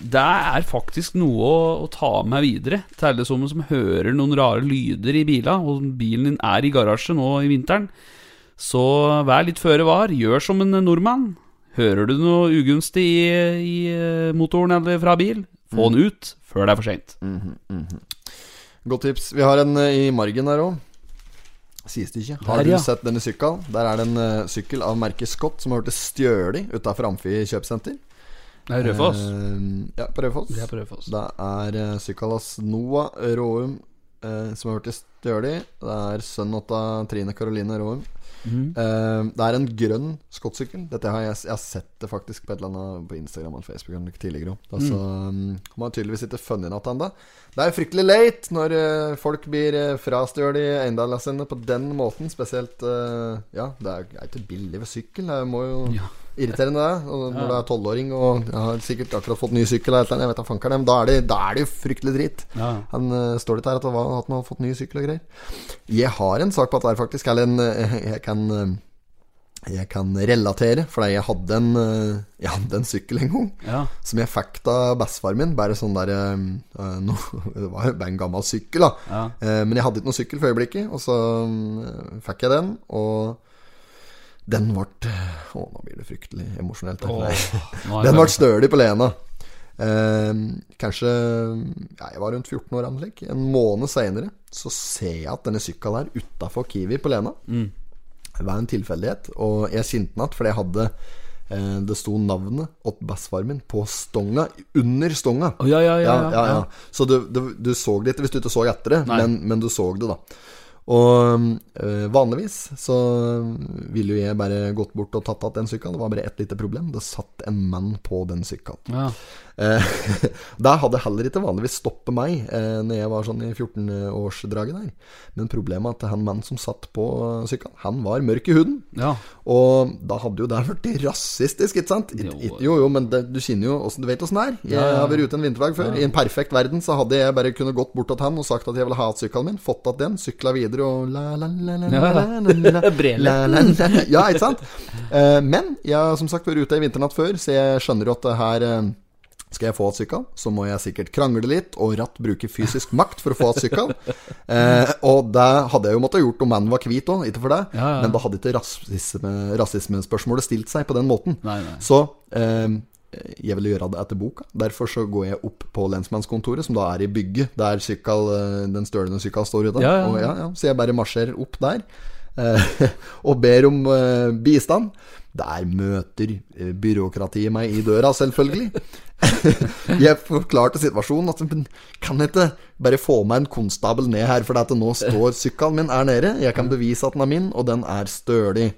Det er faktisk noe å, å ta med videre til alle som, som hører noen rare lyder i biler, og bilen din er i garasje nå i vinteren. Så vær litt føre var. Gjør som en nordmann. Hører du noe ugunstig i, i eh, motoren eller fra bil, få den ut før det er for seint. Godt tips. Vi har en eh, i margen der òg. Sies det ikke. Har Der, du ja. sett denne sykkelen? Der er det en eh, sykkel av merket Scott som har blitt stjålet utafor Amfi kjøpesenter. Det er Rødfoss. Eh, ja, på Raufoss. Det er på Rødfoss. Det er uh, sykkelen hans Noah Råum eh, som har blitt stjålet. Det er sønnen av Trine Karoline Råum. Mhm. Eh, det er en grønn skottsykkel. Dette har jeg, jeg har sett det faktisk på et eller annet på Instagram eller Facebook eller noe tidligere òg. Altså, mm. Man har tydeligvis ikke funnet igjen ennå. Det er jo fryktelig late når eh, folk blir eh, frastjålet i eiendommene sine på den måten. Spesielt eh, Ja, det er, er ikke billig ved sykkel. Det må jo Ja. Irriterende det. Og når du er tolvåring og jeg har sikkert akkurat fått ny sykkel, eller et eller annet, jeg vet da fanker det, men da er det, da er det jo fryktelig dritt. Ja. Han eh, står litt her at han var- at han har fått ny sykkel og greier. Jeg har en sak på at det er faktisk, eller en eh, Jeg kan eh, jeg kan relatere, for jeg hadde en, eh, jeg hadde en sykkel en gang Ja. som jeg fikk av bestefaren min. Bare sånn der eh, no, Det var jo bare en gammel sykkel, da. Ja. Eh, men jeg hadde ikke noen sykkel for øyeblikket, og så mm, fikk jeg den. Og den ble eh, Å, nå blir det fryktelig emosjonelt. her. Åh, Nei. nå er Den jeg ble stølig på Lena. Eh, kanskje ja, Jeg var rundt 14 år. Anlegg. En måned seinere så ser jeg at denne sykkelen her utafor Kiwi på Lena Mm. Det var en tilfeldighet. Og jeg kjente den igjen fordi jeg hadde eh, Det sto navnet til bestefaren min på stonga, under stonga. Å, ja, ja, ja, ja, ja. Så du, du, du så det ikke hvis du ikke så etter det, Nei. men, men du så det, da. Og eh, vanligvis så ville jo jeg bare gått bort og tatt igjen den sykkelen. Det var bare ett lite problem. Det satt en mann på den sykkelen. Ja. Eh, der hadde heller ikke vanligvis stoppet meg eh, Når jeg var sånn i 14-årsdraget der. Men problemet er at han mannen som satt på sykkelen, han var mørk i huden. ja. Og da hadde jo det blitt rasistisk, ikke sant? It, it, jo, jo, men det, du kjenner jo åssen- Du vet åssen det er. Jeg har vært ute en vinterdag før. I en perfekt verden så hadde jeg bare kunnet gått bort til han og sagt at jeg ville ha igjen sykkelen min, fått igjen den, sykla videre og la, la, la, la, la, la, la, la. La, la, la. Ja, ikke sant? Eh, Men jeg har som sagt vært ute en vinternatt før, så jeg skjønner jo at det her eh, skal jeg få igjen sykkelen, så må jeg sikkert krangle litt og ratt bruke fysisk makt for å få igjen sykkelen. Eh, og det hadde jeg jo måttet gjort om mannen var hvit òg, ikke for det. Ja, ja. Men da hadde ikke rasisme, rasismespørsmålet stilt seg på den måten. Nei, nei. Så eh, jeg ville gjøre det etter boka. Derfor så går jeg opp på lensmannskontoret, som da er i bygget der sykkel, eh, den stølende sykkelen står ute. Ja, ja, ja. Og, ja, ja. Så jeg bare marsjerer opp der eh, og ber om eh, bistand. Der møter eh, byråkratiet meg i døra, selvfølgelig. jeg forklarte situasjonen. At, men kan jeg ikke bare få meg en konstabel ned her, for at nå står sykkelen min er nede. Jeg kan bevise at den er min, og den er stølig.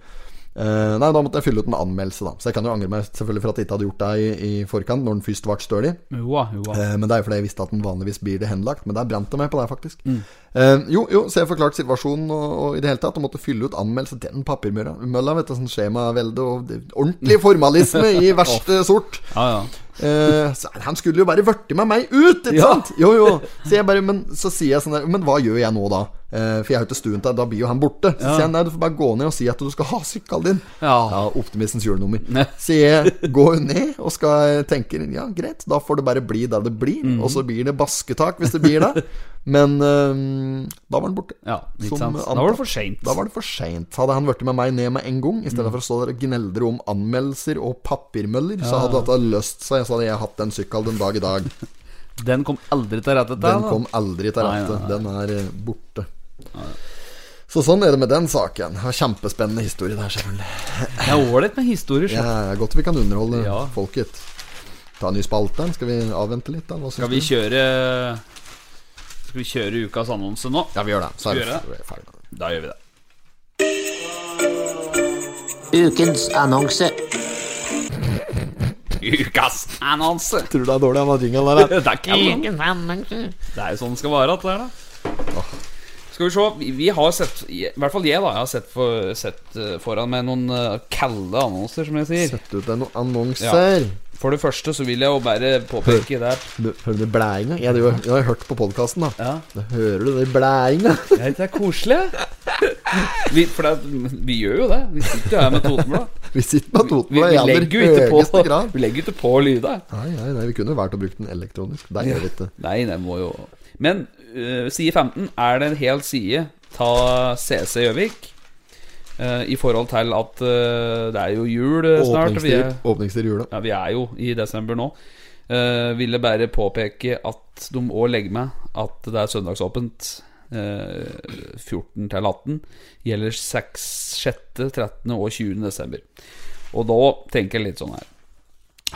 Eh, nei, da måtte jeg fylle ut en anmeldelse, da. Så jeg kan jo angre meg selvfølgelig for at jeg ikke hadde gjort det i, i forkant, når den først ble stølig. Joa, joa. Eh, Men det er jo fordi jeg visste at den vanligvis blir det henlagt. Men der brant det meg på det, faktisk. Mm. Eh, jo, jo, så jeg forklarte situasjonen og, og i det hele tatt. Og måtte fylle ut anmeldelse. Den papirmølla, mølla, vet du. Sånn skjemavelde og det- ordentlig formalisme i verste sort. Ja, ja. Eh, så han skulle jo bare vørte med meg ut, ikke Ja. sant? Jo, jo. Så jeg bare, men så sier jeg sånn der Men hva gjør jeg nå, da? Eh, for jeg har jo ikke stuen til Da blir jo han borte. Så Ja. sier han nei, du får bare gå ned og si at du skal ha sykkelen din. Ja. Optimistens julenummer. Ne. Så jeg går ned og skal tenke Ja, greit, da får det bare bli der det blir. Mhm. Og så blir det basketak hvis det blir det. Men eh, da var han borte. ja ikke Som sant. Da var antatt. det for seint. Da var det for seint. Hadde han blitt med meg ned med en gang, i Mhm. stedet for å stå der og gneldre om anmeldelser og papirmøller, så hadde dette løst seg. Så hadde jeg hatt den sykkelen den dag i dag. Den kom aldri til rette til Den da. kom aldri til Nei, rette. nei, nei. Den er eh, borte. Så sånn er det med den saken. Det var Kjempespennende historie der, selvfølgelig. Det er ålreit med historier. Ja, skjønner du. det er godt vi kan underholde Ja. folket. Ta en ny spalte. Skal vi avvente litt, da? Hva syns Skal vi du? kjøre Skal vi kjøre ukas annonse nå? Ja, vi gjør det. Så vi er gjøre vi ferdig. Da gjør vi det. Ukens annonse. Ukas annonse! Tror du det er dårlig han har jingle der? da? Det er ikke Det er jo sånn det skal være. At det er, da. Skal vi se. vi- Vi har sett I hvert fall jeg, da. Jeg har sett, for, sett eh, foran meg noen eh, kalde annonser, som jeg sier. Sett ut det er noen annonser. For det første så vil jeg jo bare påpeke der Du, hører du blæinga? Jeg, driver- jeg har hørt på podkasten, da. Ja, Da hører du den blæinga. det er koselig. Vi, for det, er- vi gjør jo det. Vi sitter jo her med Totenblad. Vi sitter med Vi, Totenblad vi i aller legger jo ikke høyeste på, grad. vi legger jo ikke på lyder. Nei, nei, nei, vi kunne valgt å bruke den elektronisk. Der gjør vi ikke Nei, det må jo Men øh, side 15 er det en hel side Ta CC Gjøvik øh, I forhold til at øh, det er jo jul øh, snart og vi er, Åpningstider, åpningstider i jula. ja, vi er jo i desember nå uh, Ville bare påpeke at de også legger med At det er søndagsåpent øh, 14 til 18 Gjelder 6, 6, 13 og 20 desember Og da tenker jeg litt sånn her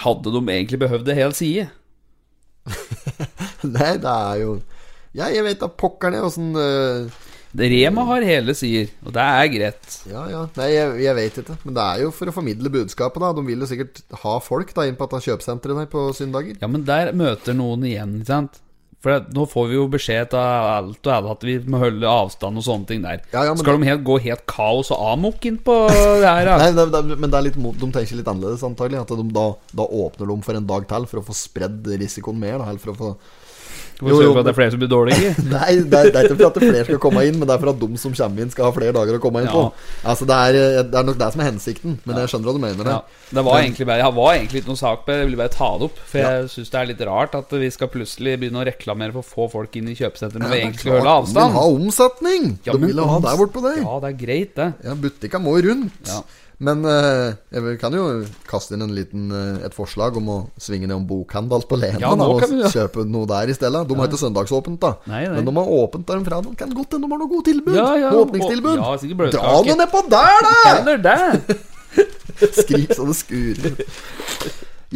Hadde de egentlig behøvd det hel side? Nei, det er jo Ja, jeg vet da pokker det åssen eh, Rema har hele sider, og det er greit. Ja, ja. Nei, jeg, jeg vet ikke. Men det er jo for å formidle budskapet, da. De vil jo sikkert ha folk da inn på dette kjøpesenteret der på søndager. Ja, men der møter noen igjen, ikke sant? For det, nå får vi jo beskjed til alt og alle at vi må holde avstand og sånne ting der. Ja, ja, men- Skal de helt gå helt kaos og amok inn på det her? da? Nei, det, det, men det er litt, mot- de tenker litt annerledes, antagelig. At de, da, da åpner de for en dag til for å få spredd risikoen mer. Da, eller for å få Skal vi Jo, jo, sørge for at det er flere som blir dårlige? Nei, det er, det er ikke for at flere skal komme inn, men det er for at de som kommer inn, skal ha flere dager å komme inn på. Altså, det er, eh, det er nok det som er hensikten, men jeg skjønner hva du mener. Ja, Ja. det var egentlig bare, jeg var egentlig ikke noe sak på det, jeg ville bare ta det opp. For jeg synes det er litt rart at vi skal plutselig begynne å reklamere for å få folk inn i kjøpesenteret når vi egentlig skal holde De vil avstand. ha omsetning! Ja, de men vil ha oms- der borte på deg. Ja, Ja, det er greit, det. Butikka må jo rundt. Ja. Men eh, jeg vil- kan jo kaste inn en liten, eh, et forslag om å svinge ned om bokhandel på Lena Ja, nå da, og kan vi gjøre. kjøpe noe der i stedet. De har ikke søndagsåpent, da. Nei, nei. Men de har åpent der en fredag. Kan godt hende de har noe godt tilbud. Ja, ja, noe åpningstilbud. og- ja, sikkert bløtkake. Dra nå nedpå der, da! Eller det! Skrik så det skurer.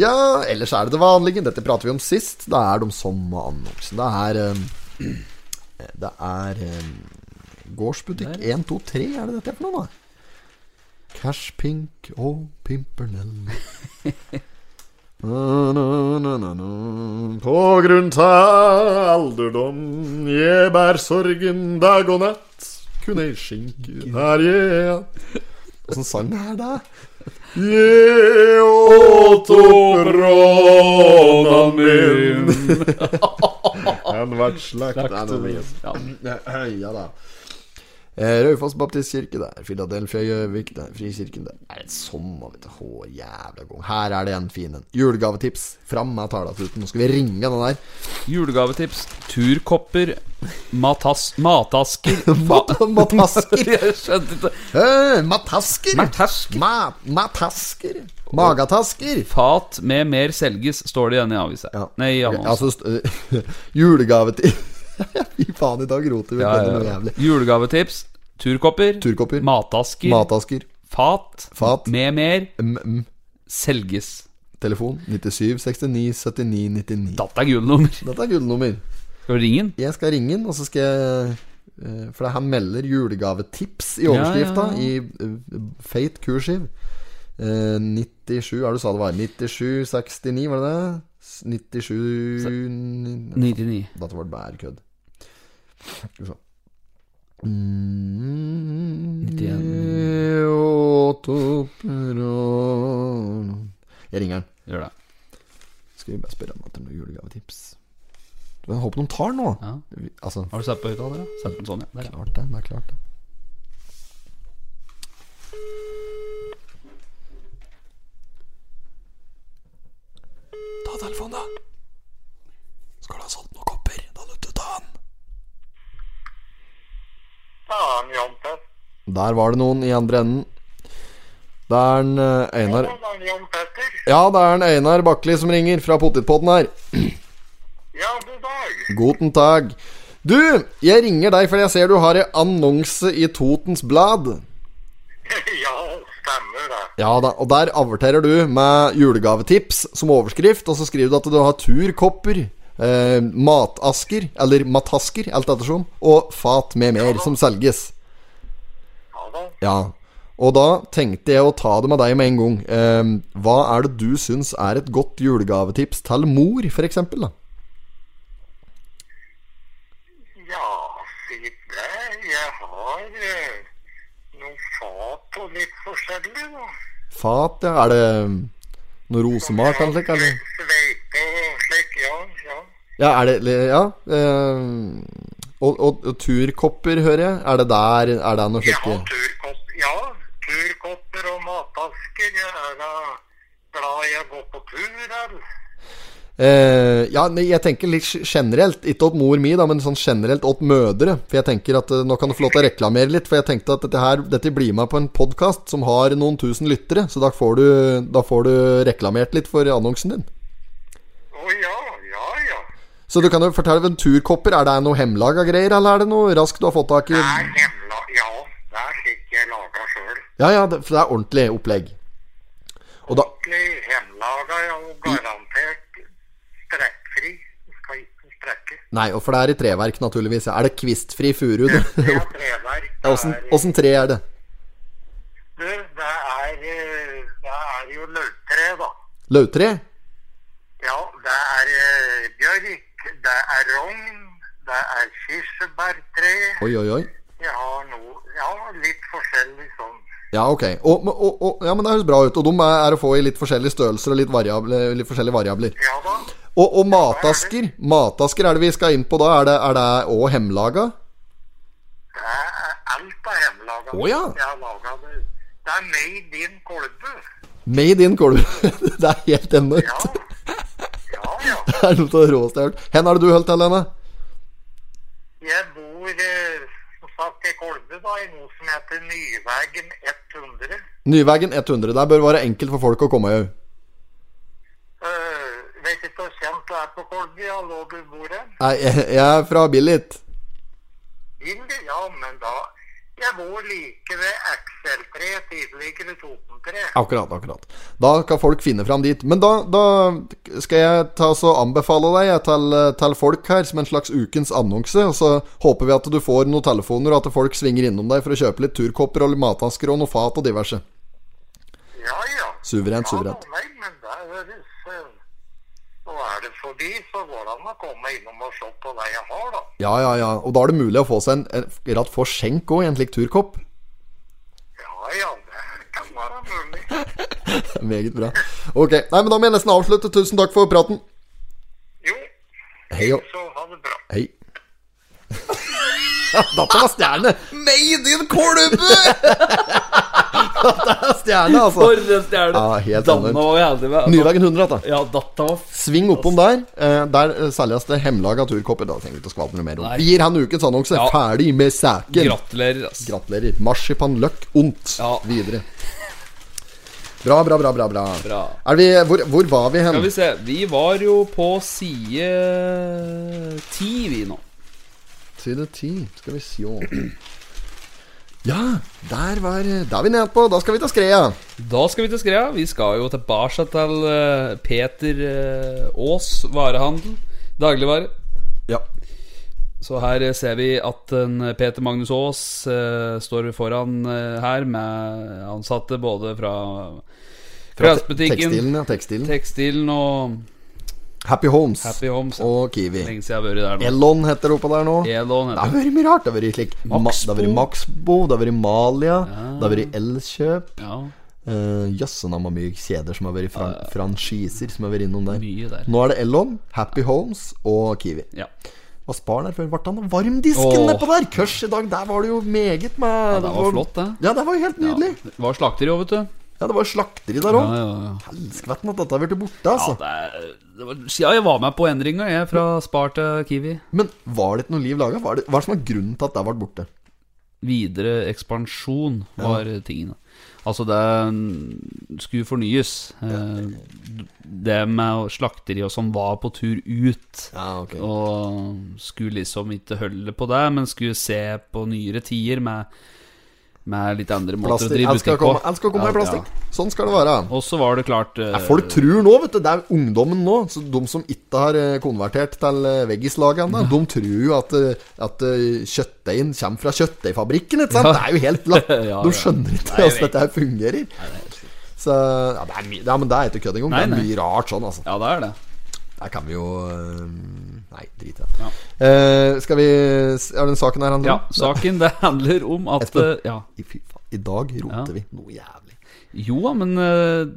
Ja, ellers er det det vanlige. Dette prater vi om sist. Det er de som annonsen. Det er eh, Det er eh, gårdsbutikk 1, 2, 3. Er det dette er for noe, da? Cash Pink og Pimpernell. Na, na, na, na, na. På grunn av alderdom jeg bær sorgen dag og natt. Kunne ei skinke her jeg att. Åssen sang er det? Jeg åt opp rånan min. Han vart slakt. Nei, nå blir det- Ja da. Eh, Raufoss Baptistkirke der, Philadelphia Gjøvik der, Frikirken der. Er det sommer, vet du. Å, jævla gang. Her er det en fin en. Julegavetips. Fram med talatuten. Nå skal vi ringe den der. Julegavetips, turkopper, matas, matasker Mat- Matasker. Jeg skjønte ikke Eh, Matasker. Matasker. Ma matasker. Magatasker. Fat med mer selges, står det igjen i avisa. Ja. Nei, i Ok, annonsen. altså st- Julegavetips Fy faen, i dag roter vi ja, kødder ja, noe ja. jævlig. Julegavetips, turkopper, Turkopper. matasker, Matasker. fat, Fat. med mer Mm, mm. selges. Telefon 97 69 79 99. Dette er gullnummer. Dette er gullnummer. Skal vi ringe den? Jeg skal ringe den, og så skal jeg eh, For han melder julegavetips i overskrifta Ja, ja, i eh, feit kursiv. Eh, 97 Hva er det du sa det var? 97 69, var det det? S- 97 ni- 99. Dette var bare kødd. Skal vi se. Mm, 91. jeg åt opp eh, råd. Jeg ringer han. Gjør det. Skal vi bare spørre han etter noen julegavetips. Jeg håper de tar den nå. Ja. Vi- Altså, Har du satt på høyttaler? da? Sett den sånn, ja. Der, ja. klart det. Det er klart det. Ta telefonen, da. Skal du ha solgt noen kopper? Da er du til å ta den. Faen, Jan Petter. Der var det noen i andre enden. Det er en eh, Einar Faen, Jan Petter. Ja, det er en Einar Bakli som ringer fra potetpotten her. Ja, god dag. Guten tag. Du, jeg ringer deg fordi jeg ser du har en annonse i Totens Blad. ja, stemmer det. Ja da, og der averterer du med julegavetips som overskrift, og så skriver du at du har turkopper, eh, matasker, eller matasker, alt ettersom, og fat med mer som selges. Ja da. Ja. Og da tenkte jeg å ta det med deg med en gang. Eh, hva er det du syns er et godt julegavetips til mor, f.eks.? da? Ja, si det. Jeg har eh, noen fat og litt forskjellig, da. Fat, ja. Er det noe rosemalt eller slik, eller? Sveite og slik, ja. ja. Ja, er det Ja. eh, og, og, og turkopper, hører jeg. Er det der Er det noe Jeg slikt? har turkopp, ja, turkopper og matasker. Jeg er da glad jeg går på tur, eller? Eh, ja, nei, jeg tenker litt generelt. Ikke åt mor mi, da, men sånn generelt åt mødre. For jeg tenker at eh, Nå kan du få lov til å reklamere litt, for jeg tenkte at dette her Dette blir med på en podkast som har noen tusen lyttere, så da får du, da får du reklamert litt for annonsen din. Å ja, ja, ja. Så du kan jo fortelle om turkopper. Er det noe hemmelaga greier, eller er det noe raskt du har fått tak i? Det er hemla, ja, det er slik jeg lager sjøl. Ja, ja, det, for det er ordentlig opplegg. Og da ordentlig hjemmelaga ja, og garantert strekkfri. Du skal ikke strekke. Nei, og for det er i treverk, naturligvis. Er det kvistfri furu? du? Det er treverk. Ja, Åssen åssen tre er det? Det er, du, det er, eh, det er jo løvtre, da. Løvtre? Ja, det er eh, bjørk, det er rogn, det er kirsebærtre. Oi, oi, oi. Jeg har noe Ja, litt forskjellig sånn. Ja, ok. Og, og, og, ja, men Det høres bra ut. Og de er, er å få i litt forskjellige størrelser og litt, variable, litt forskjellige variabler. Ja da. Og, og matasker. Matasker er det vi skal inn på da. Er det, er det òg hjemmelaga? Det er alt er hjemmelaga. Å, ja. Jeg har laget det. Det er made in Kolbu. Made in Kolbu. det er helt enormt. Ja, ja. Det er noe av det råeste jeg har hørt. Hvor er det du holdt til, Lene? Jeg bor eh, som sagt i Kolbu, da, i noe som heter Nyvegen 100. Nyvegen 100. Der bør være enkelt for folk å komme òg. Eh, vet ikke hvor kjent du er på Kolbu, ja, lå du bor hen? Nei, Jeg jeg er fra Billit. Bildet, ja, men da Jeg bor like ved XL3, tidligere Totentre. Akkurat, akkurat. Da kan folk finne fram dit. Men da, da skal jeg ta så anbefale deg jeg, til, til folk her som en slags ukens annonse. Og så håper vi at du får noen telefoner, og at folk svinger innom deg for å kjøpe litt turkopper og litt matasker og noe fat og diverse. Ja, ja. Suverent, Ja, da, suverent. nei, men der høres eh, Og er det forbi, så går det an å komme innom og se på hva jeg har, da. Ja, ja, ja. Og da er det mulig å få seg en, en ratt for skjenk òg i en slik turkopp. Ja, ja, det kan være mulig. Det er Meget bra. Ok. Nei, men da må jeg nesten avslutte. Tusen takk for praten. Jo, Hei og så ha det bra. hei. Dette var stjerne. Made in Kolbu! Stjerne, altså. For en stjerne. Ja, helt Danna enormt. var vi heldige med. Nyvegen 100, dette. Ja, datta var f... Sving oppom der. Eh, der eh, selges det hjemmelaga turkopper. Da trenger vi ikke å skvadre noe mer om. Nei. Vi gir han ukens annonse. Ja. Ferdig med saken. Gratulerer, ass. Gratulerer. Marsipan løk ondt. Ja. Videre. Bra, bra, bra, bra. bra. Bra. Er vi, hvor, hvor var vi hen? Skal vi se. Vi var jo på side ti, vi nå. Side 10. Skal vi sjå. Ja, der var Der er vi nede på. Da skal vi ta skreia. Da skal vi til skreia. Vi skal jo tilbake til eh, Peter eh, Aas varehandel. Dagligvare. Ja. Så her eh, ser vi at en Peter Magnus Aas eh, står foran eh, her med ansatte både fra klesbutikken, Tekstilen, ja. Tekstilen. tekstilen og Happy Homes. Happy Homes. Og Kiwi. Lenge siden jeg har vært der nå. Elon heter det oppå der nå. Elon Det har heter det. vært mye rart. Det har vært slik Ma- Maxbo. Det har vært Maxbo, det har vært Malia, det har vært Elkjøp. Ja, Eh, Jøssen har mye kjeder som har vært fran franchiser som har vært innom der. mye der. Nå er det Elon, Happy Homes og Kiwi. Ja. Hva spar der før? Ble han av varmdisken Åh. nedpå der? Kørs i dag, der var det jo meget med Ja, det var flott, det. Ja, det var jo helt Ja. nydelig. Det var slakteri òg, vet du. Ja, det var slakteri der òg. Ja, ja, ja. Helskvetten at dette har blitt borte, altså. det, er- det var siden jeg var med på endringa, jeg, fra Spar til Kiwi. Men var det ikke noe liv laga? Hva er det- hva er det som er grunnen til at det ble borte? Videre ekspansjon var tingen. Altså, det skulle fornyes. Eh, Det med slakteri og sånn var på tur ut. Ja, ok Og skulle liksom ikke holde på det, men skulle se på nyere tider med, med litt andre måter å Plastikk. drive Jeg skal butikk komme, på. jeg skal komme med Ja, plastikk. Sånn skal det være. ja. Og så var det klart eh, Ja, folk tror nå, vet du. Det er ungdommen nå. Så de som ikke har eh, konvertert til eh, veggislagene, Mm. da, de tror jo at, eh, at eh, kjøttdeigen kommer fra kjøttdeigfabrikken. Ikke sant? Det er jo helt latt. Ja, De ja. skjønner ikke hvordan dette her fungerer. Så ja, det er mye Ja, men det er ikke kødd engang. Det Nei, er nei. mye rart sånn, altså. Ja, det er det. Der kan vi jo eh, Nei, drit i det. Eh, skal vi Er den saken her handler Ja, saken det handler om at Espen. eh, ja. I, fy faen, I dag roter Ja. vi noe jævlig. Jo da, men eh,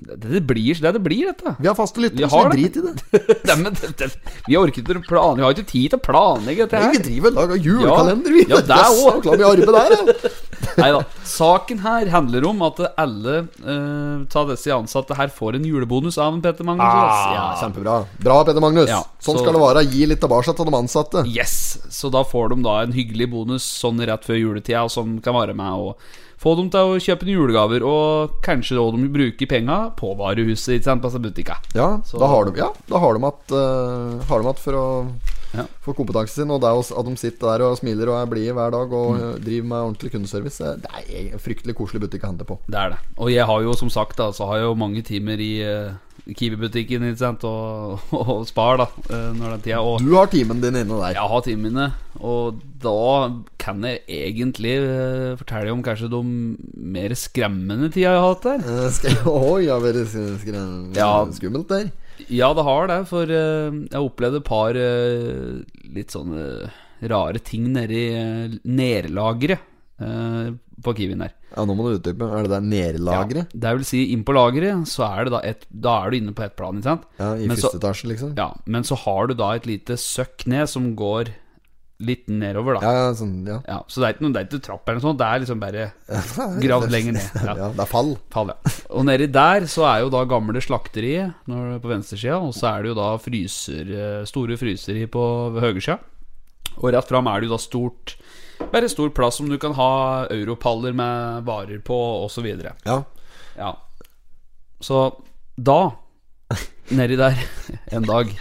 det, det blir det det blir, dette. Vi har faste Vi lyttere, så har vi det. driter i det. Nei, men det, det, vi orker ikke å plan- Vi har ikke tid til å planlegge dette Nei, vi her. driver og lager julekalender, vi. Ja, det Jøss, også. klar mye arbeid der, ja. Nei da. Saken her handler om at alle eh, ta disse ansatte her får en julebonus av en Peter Magnus. Ah, Ja, ja, kjempebra. Bra, Peter Magnus. Ja, sånn så- skal det være. Gi litt tilbake til de ansatte. yes! Så da får de da en hyggelig bonus sånn rett før juletida, som kan være med å få dem til å kjøpe noen julegaver, og kanskje da de bruker penga på varehuset, ikke sant, på butikka. Ja, Så- da har de Ja, da har de at, eh, har de at for å Ja. få kompetansen sin. Og det er også at de sitter der og smiler og er blide hver dag og Mm. eh, driver med ordentlig kundeservice. eh, Det er en fryktelig koselig butikk å handle på. Det er det. Og jeg har jo som sagt da, så har jeg jo mange timer i eh, Kiwi-butikken ikke sant, og, og Spar da, eh, når den tida. Og Du har timen din inne der. jeg har timene mine, og da kan jeg egentlig eh, fortelle om kanskje de mer skremmende tida jeg har hatt der. Eh, Skal jeg Oi, ja, veldig sk- skre- Ja. skummelt der. Ja, det har det, for eh, jeg opplevde et par eh, litt sånne rare ting nedi uh, nærlageret. eh, på Kiwien der. Ja, nå må du utdype. Er det der nedlageret? Det vil si, inn på lageret, så er det da et Da er du inne på ett plan, ikke sant? Ja, I Men så- første etasje, liksom? Ja, men så har du da et lite søkk ned som går litt nedover, da. Ja, ja, sånn, ja. Ja, så det er ikke noe, det er ikke trapp eller noe sånt, det er liksom bare gravd lenger ned. Ja. ja, det er fall. Fall, ja. Og nedi der så er jo da gamle slakteriet når, på venstresida, og så er det jo da fryser, eh, store fryseri på høyresida. Og rett fram er det jo da stort bare stor plass som du kan ha europaller med varer på, osv. Ja. Ja. Så da, nedi der, en dag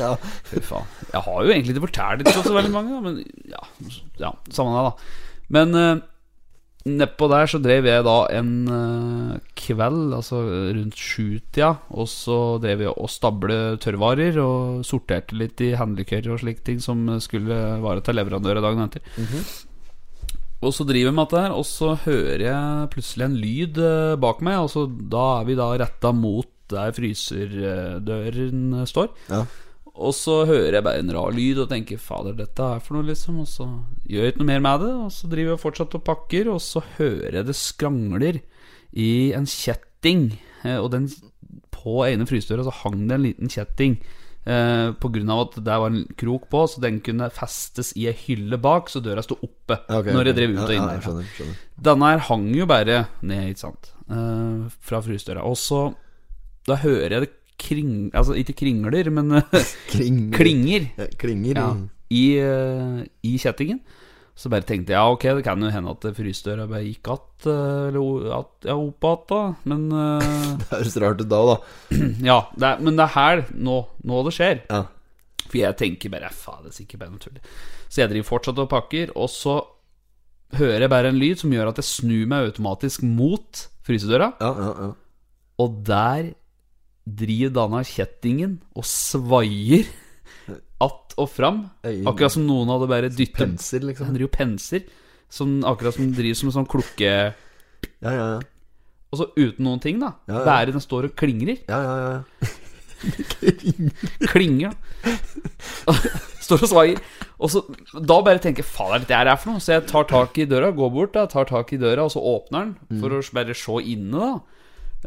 ja. Fy faen. Jeg har jo egentlig ikke fortalt det til så veldig mange, da, men ja, ja samme det, da. Men eh, nedpå der så drev jeg da en eh, kveld, altså rundt sjutida, og så drev jeg og stable tørrvarer og sorterte litt i handlekøyer og slike ting som skulle vare til leverandør dagen etter. Og så driver jeg med dette her, og så hører jeg plutselig en lyd eh, bak meg, og så da er vi da retta mot der fryserdøren eh, står. Ja. Og så hører jeg bare en rar lyd og tenker 'fader, dette er for noe', liksom. Og så gjør jeg ikke noe mer med det, og så driver jeg fortsatt og pakker, og så hører jeg det skrangler i en kjetting. Eh, Og den på ene frysedøra så hang det en liten kjetting. Eh, på grunn av at der var en krok på, så den kunne festes i ei hylle bak, så døra sto oppe Ja, ok, når jeg ok. drev ut og Ja, inn Ja, jeg der. skjønner, skjønner. Denne her hang jo bare ned, ikke sant, eh, fra frysedøra. Og så Da hører jeg det kring... Altså ikke kringler, men Kling- klinger Ja, Klinger. ja, i, eh, i kjettingen. Så bare tenkte jeg ja, ok, det kan jo hende at frysedøra bare gikk att, eh, eller o- att- ja, opp att, da. Men eh, Det høres rart ut da, da. ja, det er, men det er her, nå, nå det skjer. Ja. For jeg tenker bare faen, det er sikkert bare noe tull. Så jeg driver fortsatt og pakker, og så hører jeg bare en lyd som gjør at jeg snur meg automatisk mot frysedøra, Ja, ja, ja. og der driver denne kjettingen og svaier att og fram. Øyen- Akkurat som noen hadde bare dyttet Pensel, Han liksom. driver jo penser som, Akkurat som driver som en sånn klukke Ja, ja, ja. Og så uten noen ting da Ja, ja. Bare den står og klingrer ja, ja, ja. Klinger da Står og svager Og så da bare tenker jeg Faen, hva er dette her er for noe? Så jeg tar tak i døra Går bort da Tar tak i døra Og så åpner Mm. den For å bare se inne da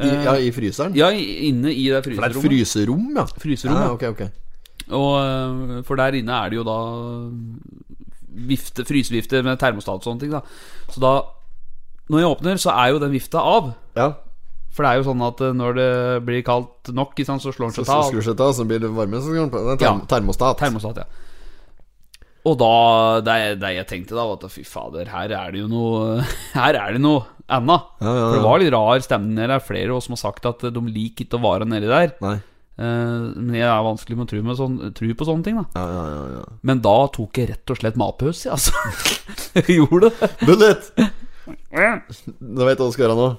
I, ja, i fryseren? Ja, i- inne i det For det er et fryserommet fryserom, Fryserom, ja. ja. ja. Ok, ok. Og øh, For der inne er det jo da Vifte, frysevifte med termostat og sånne ting da Så da Når jeg åpner så er jo den vifta av Ja, For det er jo sånn at eh, når det blir kaldt nok, ikke sant, så slår så den seg av. skrur seg av, så blir det varme. Så skal man på. Det er term Ja. termostat. Termostat, ja. Og da det, jeg- det jeg tenkte da, var at fy fader, her er det jo noe Her er det noe anna. Ja, ja, For det ja. var litt rar stemning der. Det er flere av oss som har sagt at de liker ikke å være nedi der. Nei. Eh, Men jeg er vanskelig med å tro, med sånn, tro på sånne ting, da. Ja, ja, ja, ja. Men da tok jeg rett og slett matpause, jeg, altså. Jeg gjorde det. Bullet! Nå vet du hva du skal gjøre nå.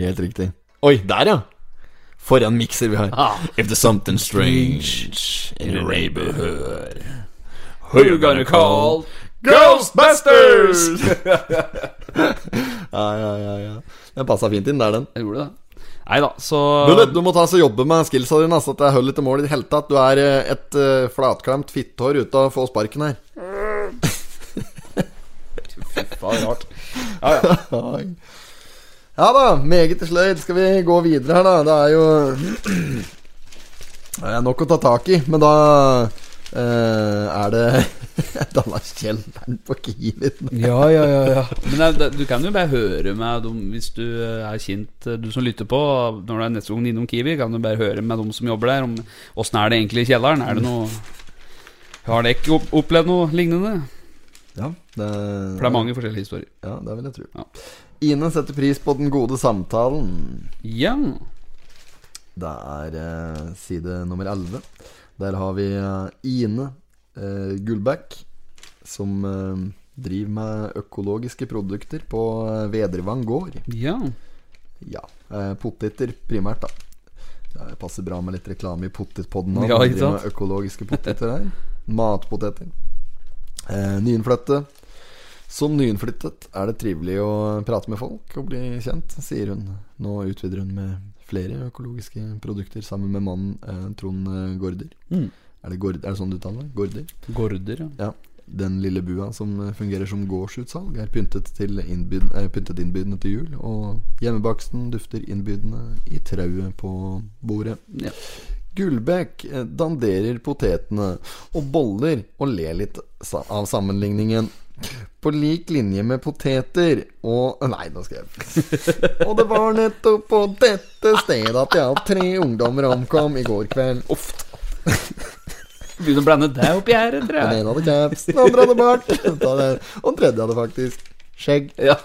Helt riktig. Oi, der, ja! For en mikser vi har. Ah. If there's something strange in your neighborhood Who You're gonna call Ghostbusters! ja, ja, ja, ja. Den passa fint inn der, den. Jeg gjorde det. Nei da, Bullet, så du må ta oss og jobbe med skillsa dine, altså, at det er hull etter mål i det hele tatt. Du er eh, et eh, flatklemt fittehår ute av å få sparken her. Faen, rart. Oi. Ja da, meget sløyd. Skal vi gå videre her, da? Det er jo Det er nok å ta tak i, men da eh, er det Denne kjelleren på Kiwien. Ja, ja, ja, ja. Men det, er- det, du kan jo bare høre med dem hvis du eh, er kjent, eh, du som lytter på, når du er neste gang innom Kiwi, kan du bare høre med dem som jobber der, om åssen er det egentlig i kjelleren? Er det noe Har dere ikke opp- opplevd noe lignende? Ja, For det er mange forskjellige historier. Ja, det vil jeg tro. Ja. Ine setter pris på den gode samtalen. Ja. Det er eh, side nummer 11. Der har vi eh, Ine eh, Gullbæk, som eh, driver med økologiske produkter på eh, Vedrevang gård. Ja. Ja. Eh, poteter primært, da. Det passer bra med litt reklame i potetpodden nå. Ja, når vi ikke driver sant? med Økologiske poteter her. Matpoteter. Eh, nyinnflytte. Som nyinnflyttet er det trivelig å prate med folk og bli kjent, sier hun. Nå utvider hun med flere økologiske produkter sammen med mannen eh, Trond eh, Gaarder. Mm. Er det, gord, er det sånn du uttaler det? Gorder? Gorder, ja. Ja. Den lille bua som eh, fungerer som gårdsutsalg, er pyntet, til innbyd, er pyntet innbydende til jul. Og hjemmebaksten dufter innbydende i trauet på bordet. Ja. Gullbekk eh, danderer potetene og boller og ler litt sa- av sammenligningen. På lik linje med poteter og eh, Nei, nå skal jeg Og det var nettopp på dette stedet at i alt tre ungdommer omkom i går kveld. Uff, Begynner å blande deg oppi her, tror den jeg. ene hadde caps, den andre hadde bart. Da det- Og den tredje hadde faktisk skjegg. Ja.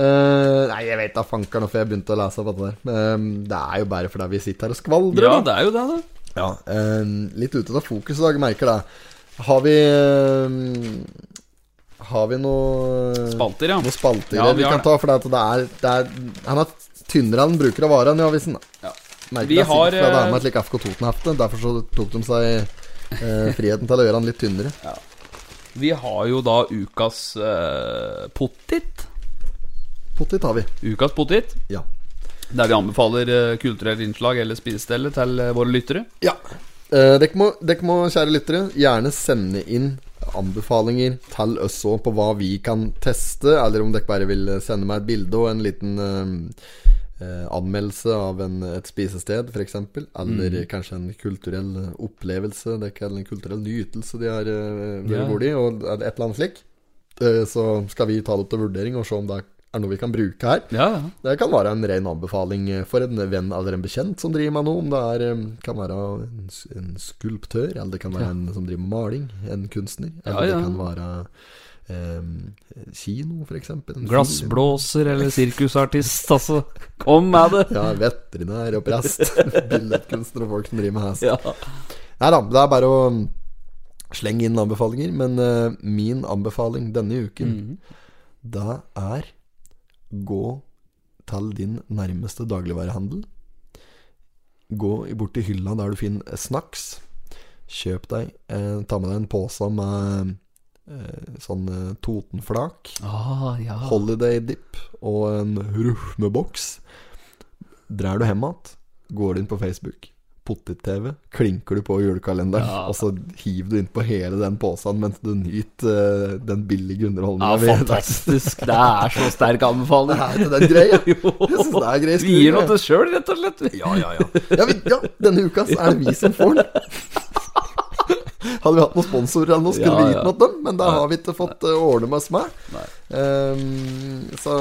Eh, nei, jeg vet da fanker nå, for jeg begynte å lese opp dette der. Eh, det er jo bare fordi vi sitter her og skvaldrer. ja, da. det er jo det, da. Ja, eh, litt ute av fokus i dag, merker jeg. Har vi eh, Har vi noe Spalter, ja. Noe spalter Ja, vi vi, har kan det. ta, for det er, det er Han er tynnere enn bruker av varen i avisen. da. Ja. Merker Vi jeg har, sikkert fordi det eh, er med et like FK Toten-hefte. Derfor så tok de seg eh, friheten til å gjøre han litt tynnere. Vi har jo da ukas eh, potet. Potet har vi. Ukas potet. Ja. Der vi anbefaler eh, kulturelle innslag eller spisestelle til eh, våre lyttere. Ja. Eh, dere, må, dere må, kjære lyttere, gjerne sende inn anbefalinger til oss òg på hva vi kan teste, eller om dere bare vil sende meg et bilde og en liten eh, eh, anmeldelse av en, et spisested, f.eks. Eller kanskje en kulturell opplevelse, det kan- eller en kulturell nytelse de har eh, vært Ja. borti, og et eller annet slik. Eh, så skal vi ta det opp til vurdering og se om det er noe vi kan bruke her. Ja, ja. Det kan være en ren anbefaling eh, for en venn eller en bekjent som driver med noe. Om det er, eh, kan være en, s- en skulptør, eller det kan være en som driver med maling. En kunstner. Eller Ja, ja. det kan være eh, kino, for eksempel. en film. Glassblåser eller sirkusartist, altså. Kom med det! Ja, veterinær og prest. Billedkunstner og folk som driver med hest. Ja. Nei da, det er bare å um, slenge inn anbefalinger. Men eh, min anbefaling denne uken, da er gå til din nærmeste dagligvarehandel. Gå i- bort til hylla der du finner snacks. Kjøp deg eh, Ta med deg en pose med eh, sånn eh, Totenflak. Ah, ja. Holiday dip og en rufmeboks. Drar du hjem igjen, går du inn på Facebook, potet-TV, klinker du på julekalenderen, Ja. og så hiver du innpå hele den posen mens du nyter eh, den billige ja, underholdninga. fantastisk. Det er så sterk anbefaling. det er grei, ja. Jo. Jeg synes det er grei Vi gir skue, noe ja. til oss sjøl, rett og slett. Ja, ja, ja. Ja, vi, ja, denne uka så er det vi som får den. Hadde vi hatt noen sponsorer eller noe, skulle Ja, vi gitt ja. noe til dem, men det har vi ikke fått eh, ordne med oss med. Ehm, så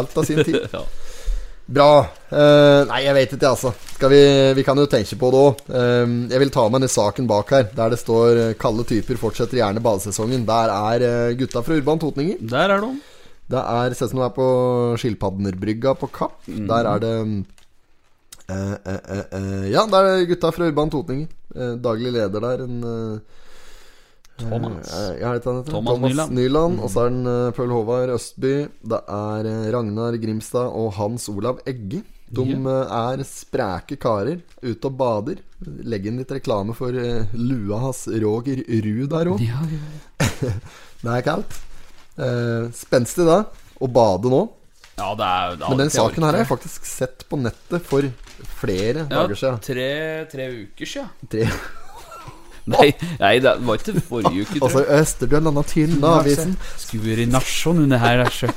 alt av sin tid. ja. Bra. Eh, nei, jeg vet ikke, altså. Skal vi, vi kan jo tenke på det òg. jeg vil ta med denne saken bak her, der det står eh, 'Kalde typer fortsetter gjerne badesesongen'. Der er eh, gutta fra Urban Totninger. Der er de. Det er, ser ut som de er på Skilpadnerbrygga på Kapp. Der er det mm, eh, eh, eh, eh, Ja, der er gutta fra Urban Totninger. Eh, daglig leder der, en eh, Thomas. eh, ja, hva heter han heter? Thomas Nyland. Og så er den eh, Pøl Håvard Østby. Det er eh, Ragnar Grimstad og Hans Olav Egge. De eh, er spreke karer ute og bader. Legg inn litt reklame for eh, lua hans Roger Ruud der òg. Ja, ja. Det er kaldt. Eh, Spenstig, da. Å bade nå. ja, det er ja, Men det den orker saken her har jeg. jeg faktisk sett på nettet for flere ja, dager siden. tre, tre uker siden. Tre. Nei, nei, det var ikke forrige uke, Altså, Østerdøl landa tynn av avisen. Skuer i nasjon under her, er så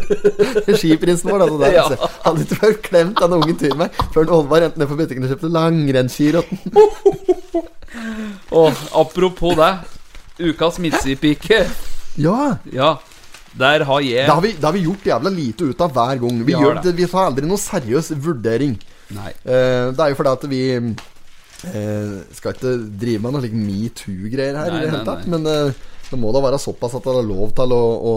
Skiprinsen vår, da. det Der, Ja. altså. Hadde ikke vært klemt denne ungen turen meg før Olvar endte ned på butikken og kjøpte langrennsski. råtten. Og apropos det. Ukas midtsidepike. Ja! Ja, der har Det har, jeg vi, det har vi gjort jævla lite ut av hver gang. Vi, Vi har gjør det. det. vi tar aldri noe seriøs vurdering. Nei. Eh, det er jo fordi at vi eh, skal ikke drive med noe slik metoo-greier her, Nei, i nei, det hele tatt. nei. Men eh, det må da være såpass at det er lov til å, å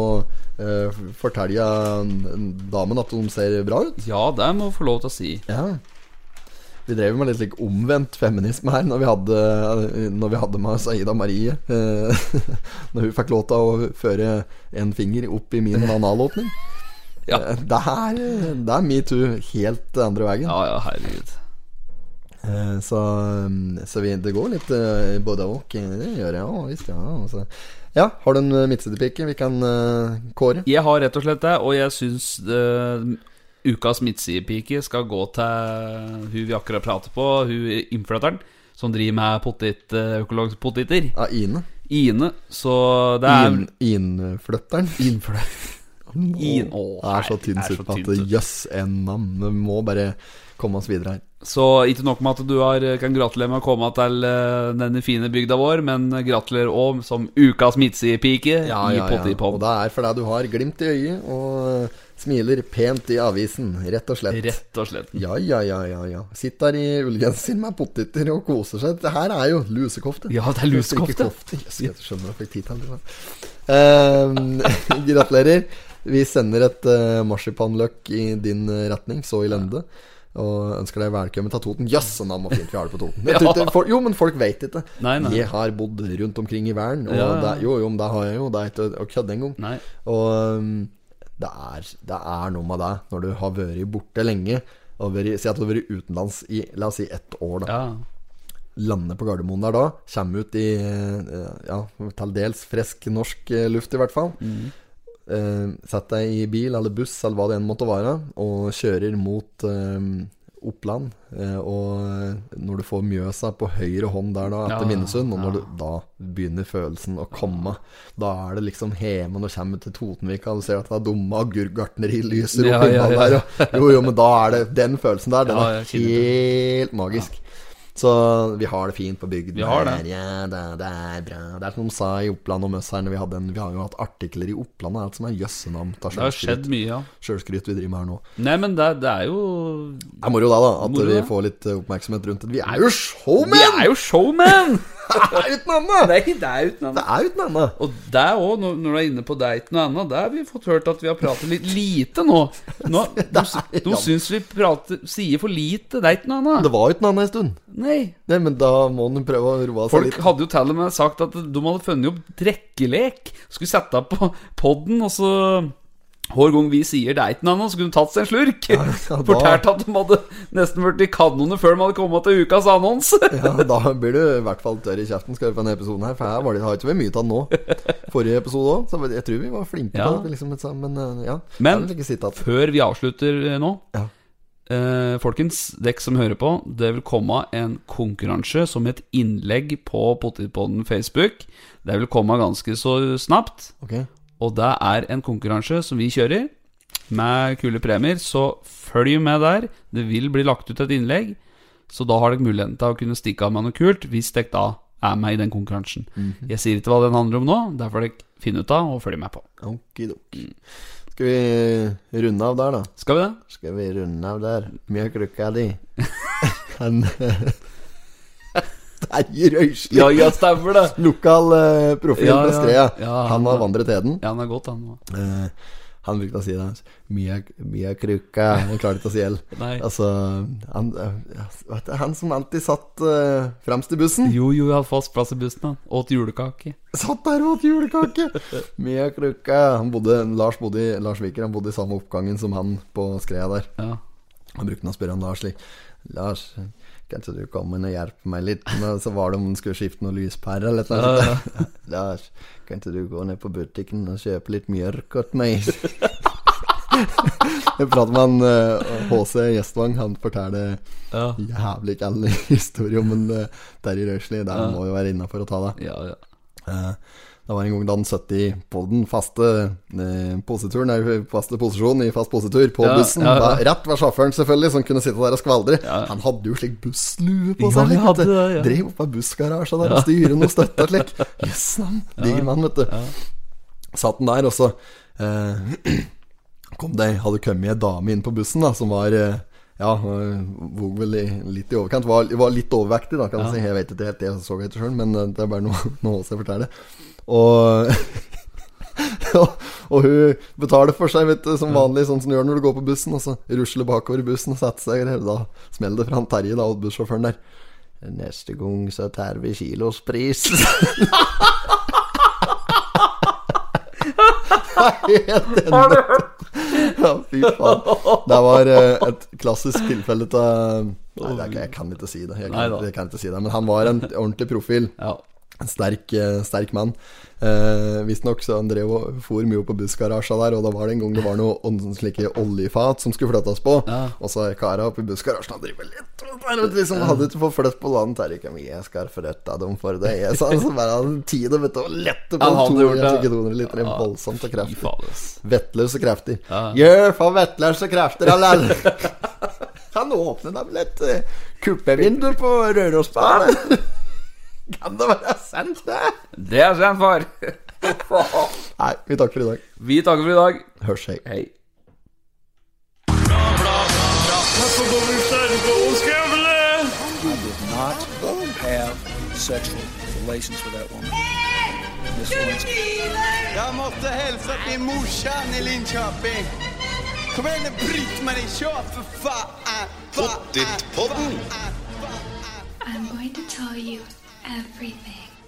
eh, fortelle eh, damen at hun ser bra ut. Ja, det må jeg få lov til å si. Ja vi drev med litt slik omvendt feminisme her når vi hadde, når vi hadde med oss Aida Marie. eh, når hun fikk lov til å føre en finger opp i min analåpning. Ja. Eh, Det er, det er metoo helt andre veien. Ja, ja, herregud. Eh, Så, så vi, det går litt eh, både og. eh, Det gjør jeg òg, visst. Ja, altså. ja, har du en eh, midtsidepike vi kan eh, kåre? Jeg har rett og slett det, og jeg syns eh, ukas midtsidepike skal gå til hun vi akkurat prater på, hun innflytteren, som driver med potet, eh, økologiske poteter. Ja, Ine. Ine. Så det er In, Innflytteren. In- Å, Å, det er så nei, tynn det er så suppe at tynn suppe. jøss, en mann. Vi må bare komme oss videre her. Så ikke nok med at du har, eh, kan gratulere med å komme til eh, denne fine bygda vår, men gratulerer òg som ukas midtsidepike i Og Pottipop. det er fordi du har glimt i øyet og eh, smiler pent i avisen, rett og slett. Rett og slett. Ja, ja, ja, ja, ja. Sitter i ullgenser med poteter og koser seg. Det her er jo lusekofte. Ja, det er lusekofte. Ikke kofte. Jøs, jeg skjønner at jeg fikk tid til det. Ehm, gratulerer. Vi sender et uh, marsipanløk i din eh, retning, så i lende. Og ønsker deg velkommen til Toten. Jøss, så navn og fint vi har det på Toten. Jeg tror ikke- folk- jo, men folk vet ikke. Nei, nei. Jeg har bodd rundt omkring i verden, og Ja, ja. det, jo, jo, men det har jeg jo. Det er ikke å- å kødde engang. Nei. Og um, det er, det er noe med det når du har vært borte lenge. Og vært, si at du har vært utenlands i la oss si ett år. da Ja. Lander på Gardermoen der da. Kommer ut i eh, ja, til dels frisk norsk eh, luft, i hvert fall. Eh, Sett deg i bil eller buss eller hva det enn måtte være, og kjører mot eh, Oppland. Eh, og når du får Mjøsa på høyre hånd der da, etter Ja, Minnesund, og ja. når du, da begynner følelsen å komme. Da er det liksom hjemme når du kommer til Totenvika og du ser at det er dumme agurkgartneri lyser opp Ja, i ja, ballen ja. der. Og, jo, jo, men da er det den følelsen der. Den Ja, er jeg kjenner det. helt magisk. Så vi har det fint på bygden. Vi har det. her, Ja, det, det er bra. Det er som de sa i Oppland om oss her når vi hadde en Vi har jo hatt artikler i Oppland og alt som er jøssenavn. ta Det har skjedd selvskryt. mye, ja. Sjølskryt vi driver med her nå. Nei, men det, det er jo Det er moro da, da at Moro, vi ja. får litt eh, oppmerksomhet rundt det. Vi er jo showmen! Vi er jo showman! Det er uten annet! Nei, det er uten Det er uten annet! Og det òg, når, når du er inne på det er ikke noe annet, det har vi fått hørt at vi har pratet litt lite nå. nå de de syns vi prater, sier for lite, det er ikke noe annet. Det var uten annet en stund. Nei. Nei, men da må den prøve å roe seg Folk litt. hadde jo til og med sagt at de hadde funnet opp drikkelek. Skulle sette opp på podden, og så hver gang vi sier det er ikke noe annet, så kunne de tatt seg en slurk. ja, da- Fortalt at de hadde nesten blitt i kanoner før de hadde kommet til ukas annonse. Ja, da blir du i hvert fall tørr i kjeften skal du på denne episoden her, for her var det, har ikke vært mye av den nå. Forrige episode òg, så jeg tror vi var flinke Ja. på det. Liksom, men eh, ja. Men- Jeg vil ikke si at Før vi avslutter eh, nå Ja. eh, Folkens, dekk som hører på Det vil komme en konkurranse Som et innlegg på Potipodden Facebook Det vil komme ganske så snapt Ok, Og det er en konkurranse som vi kjører Med kule premier Så følg med der Det vil bli lagt ut et innlegg Så da har dere muligheten til å kunne stikke av med noe kult Hvis dere da er med i den konkurransen Jeg sier ikke hva den handler om nå Det får dere finne ut av og følge med på okidok. Skal vi runde av der, da? Skal vi det? Skal vi runde av der? Mye klukka di. Han Terje Røisli. Ja, ja, stemmer det Lokal eh, profil Ja, på ja. Skreia. Ja, han han har var- vandret heden. Ja, den er godt han nå Eh, han brukte å si det. Mia, mia krukka Han klarer ikke å si L. Nei. Altså, han, eh, vet du, han som alltid satt eh, fremst i bussen, Jo, jo, jeg hadde fast plass i bussen. han Åt julekake. satt der og åt julekake! Mia krukka han bodde, Lars, bodde i, Lars Viker han bodde i samme oppgangen som han på skreia der. Ja. Han brukte å spørre han Lars slik Lars, kanskje du kommer og hjelper meg litt? Men så var det om han skulle skifte noen lyspærer eller noe. sånt. Lars, kan ikke du gå ned på butikken og kjøpe litt mjørk åt meg? Jeg prater med han eh, HC Gjestvang. Han forteller Ja. jævlig gale historier om en uh, Terje Røisli. Det må jo være innafor å ta det. Ja, ja. Eh, Det var en gang da han satt i på den faste eh, poseturen Nei, faste posisjonen i fast posetur på Ja, bussen. ja, ja. Da- Rett ved sjåføren, selvfølgelig, som kunne sitte der og skvaldre. Han hadde jo slik busslue på Ja, seg. han vet du. hadde det, ja. Drev opp av bussgarasjen der og styrer noe støtte og slik. Jøss, han diger mann, vet du. Satt han der, og så eh, kom det Hadde kommet ei dame inn på bussen, da, som var eh, ja, eh, vog vel i- litt i overkant. Var, var litt overvektig, da, kan man si. Jeg vet ikke helt, jeg så det ikke sjøl, men eh, det er bare noe, noe jeg forteller. Og og, og hun betaler for seg, vet du, som vanlig, sånn som du gjør når du går på bussen. Og så rusler bakover i bussen og setter seg der. Da smeller det fra han Terje, da, og bussjåføren der. Neste gang så tar vi kilos pris. Helt enig. Ja, fy faen. Det var eh, et klassisk tilfelle av Nei, det er ikke- jeg kan ikke si det. Jeg kan, Neida. jeg kan ikke si det Men han var en ordentlig profil. ja. En sterk, eh, sterk mann. Eh, Visstnok så han drev og for mye på bussgarasja der, og da var det en gang det var noe ånd- sånn slike oljefat som skulle flyttes på. Og så kara oppe i bussgarasjen og driver litt og bare liksom, Hadde ikke fått flytt på land her, ikke men jeg skal flytte dem for det. Jeg sa så bare han tid og vet du, å lette på Han hadde gjort 200 det. ikke 200 liter. Det er voldsomt og Fy kraftig. faen, ass. Vettløs og kraftig. Gjør for vettløs og kraftig, lall. Kan åpne dem litt eh, kuppevindu på Rørosbanen. Kan det være sant, det? Det er sant, far. Nei, vi takker for i dag. Vi takker for i dag. Hørs, hei. Hei. not have sexual relations with that woman. Miss Lewinsky. Jag måste hälsa till morsan i Linköping. Kom igen nu Britt-Marie, kör för fan! Pottit-podden! I'm going to tell you everything.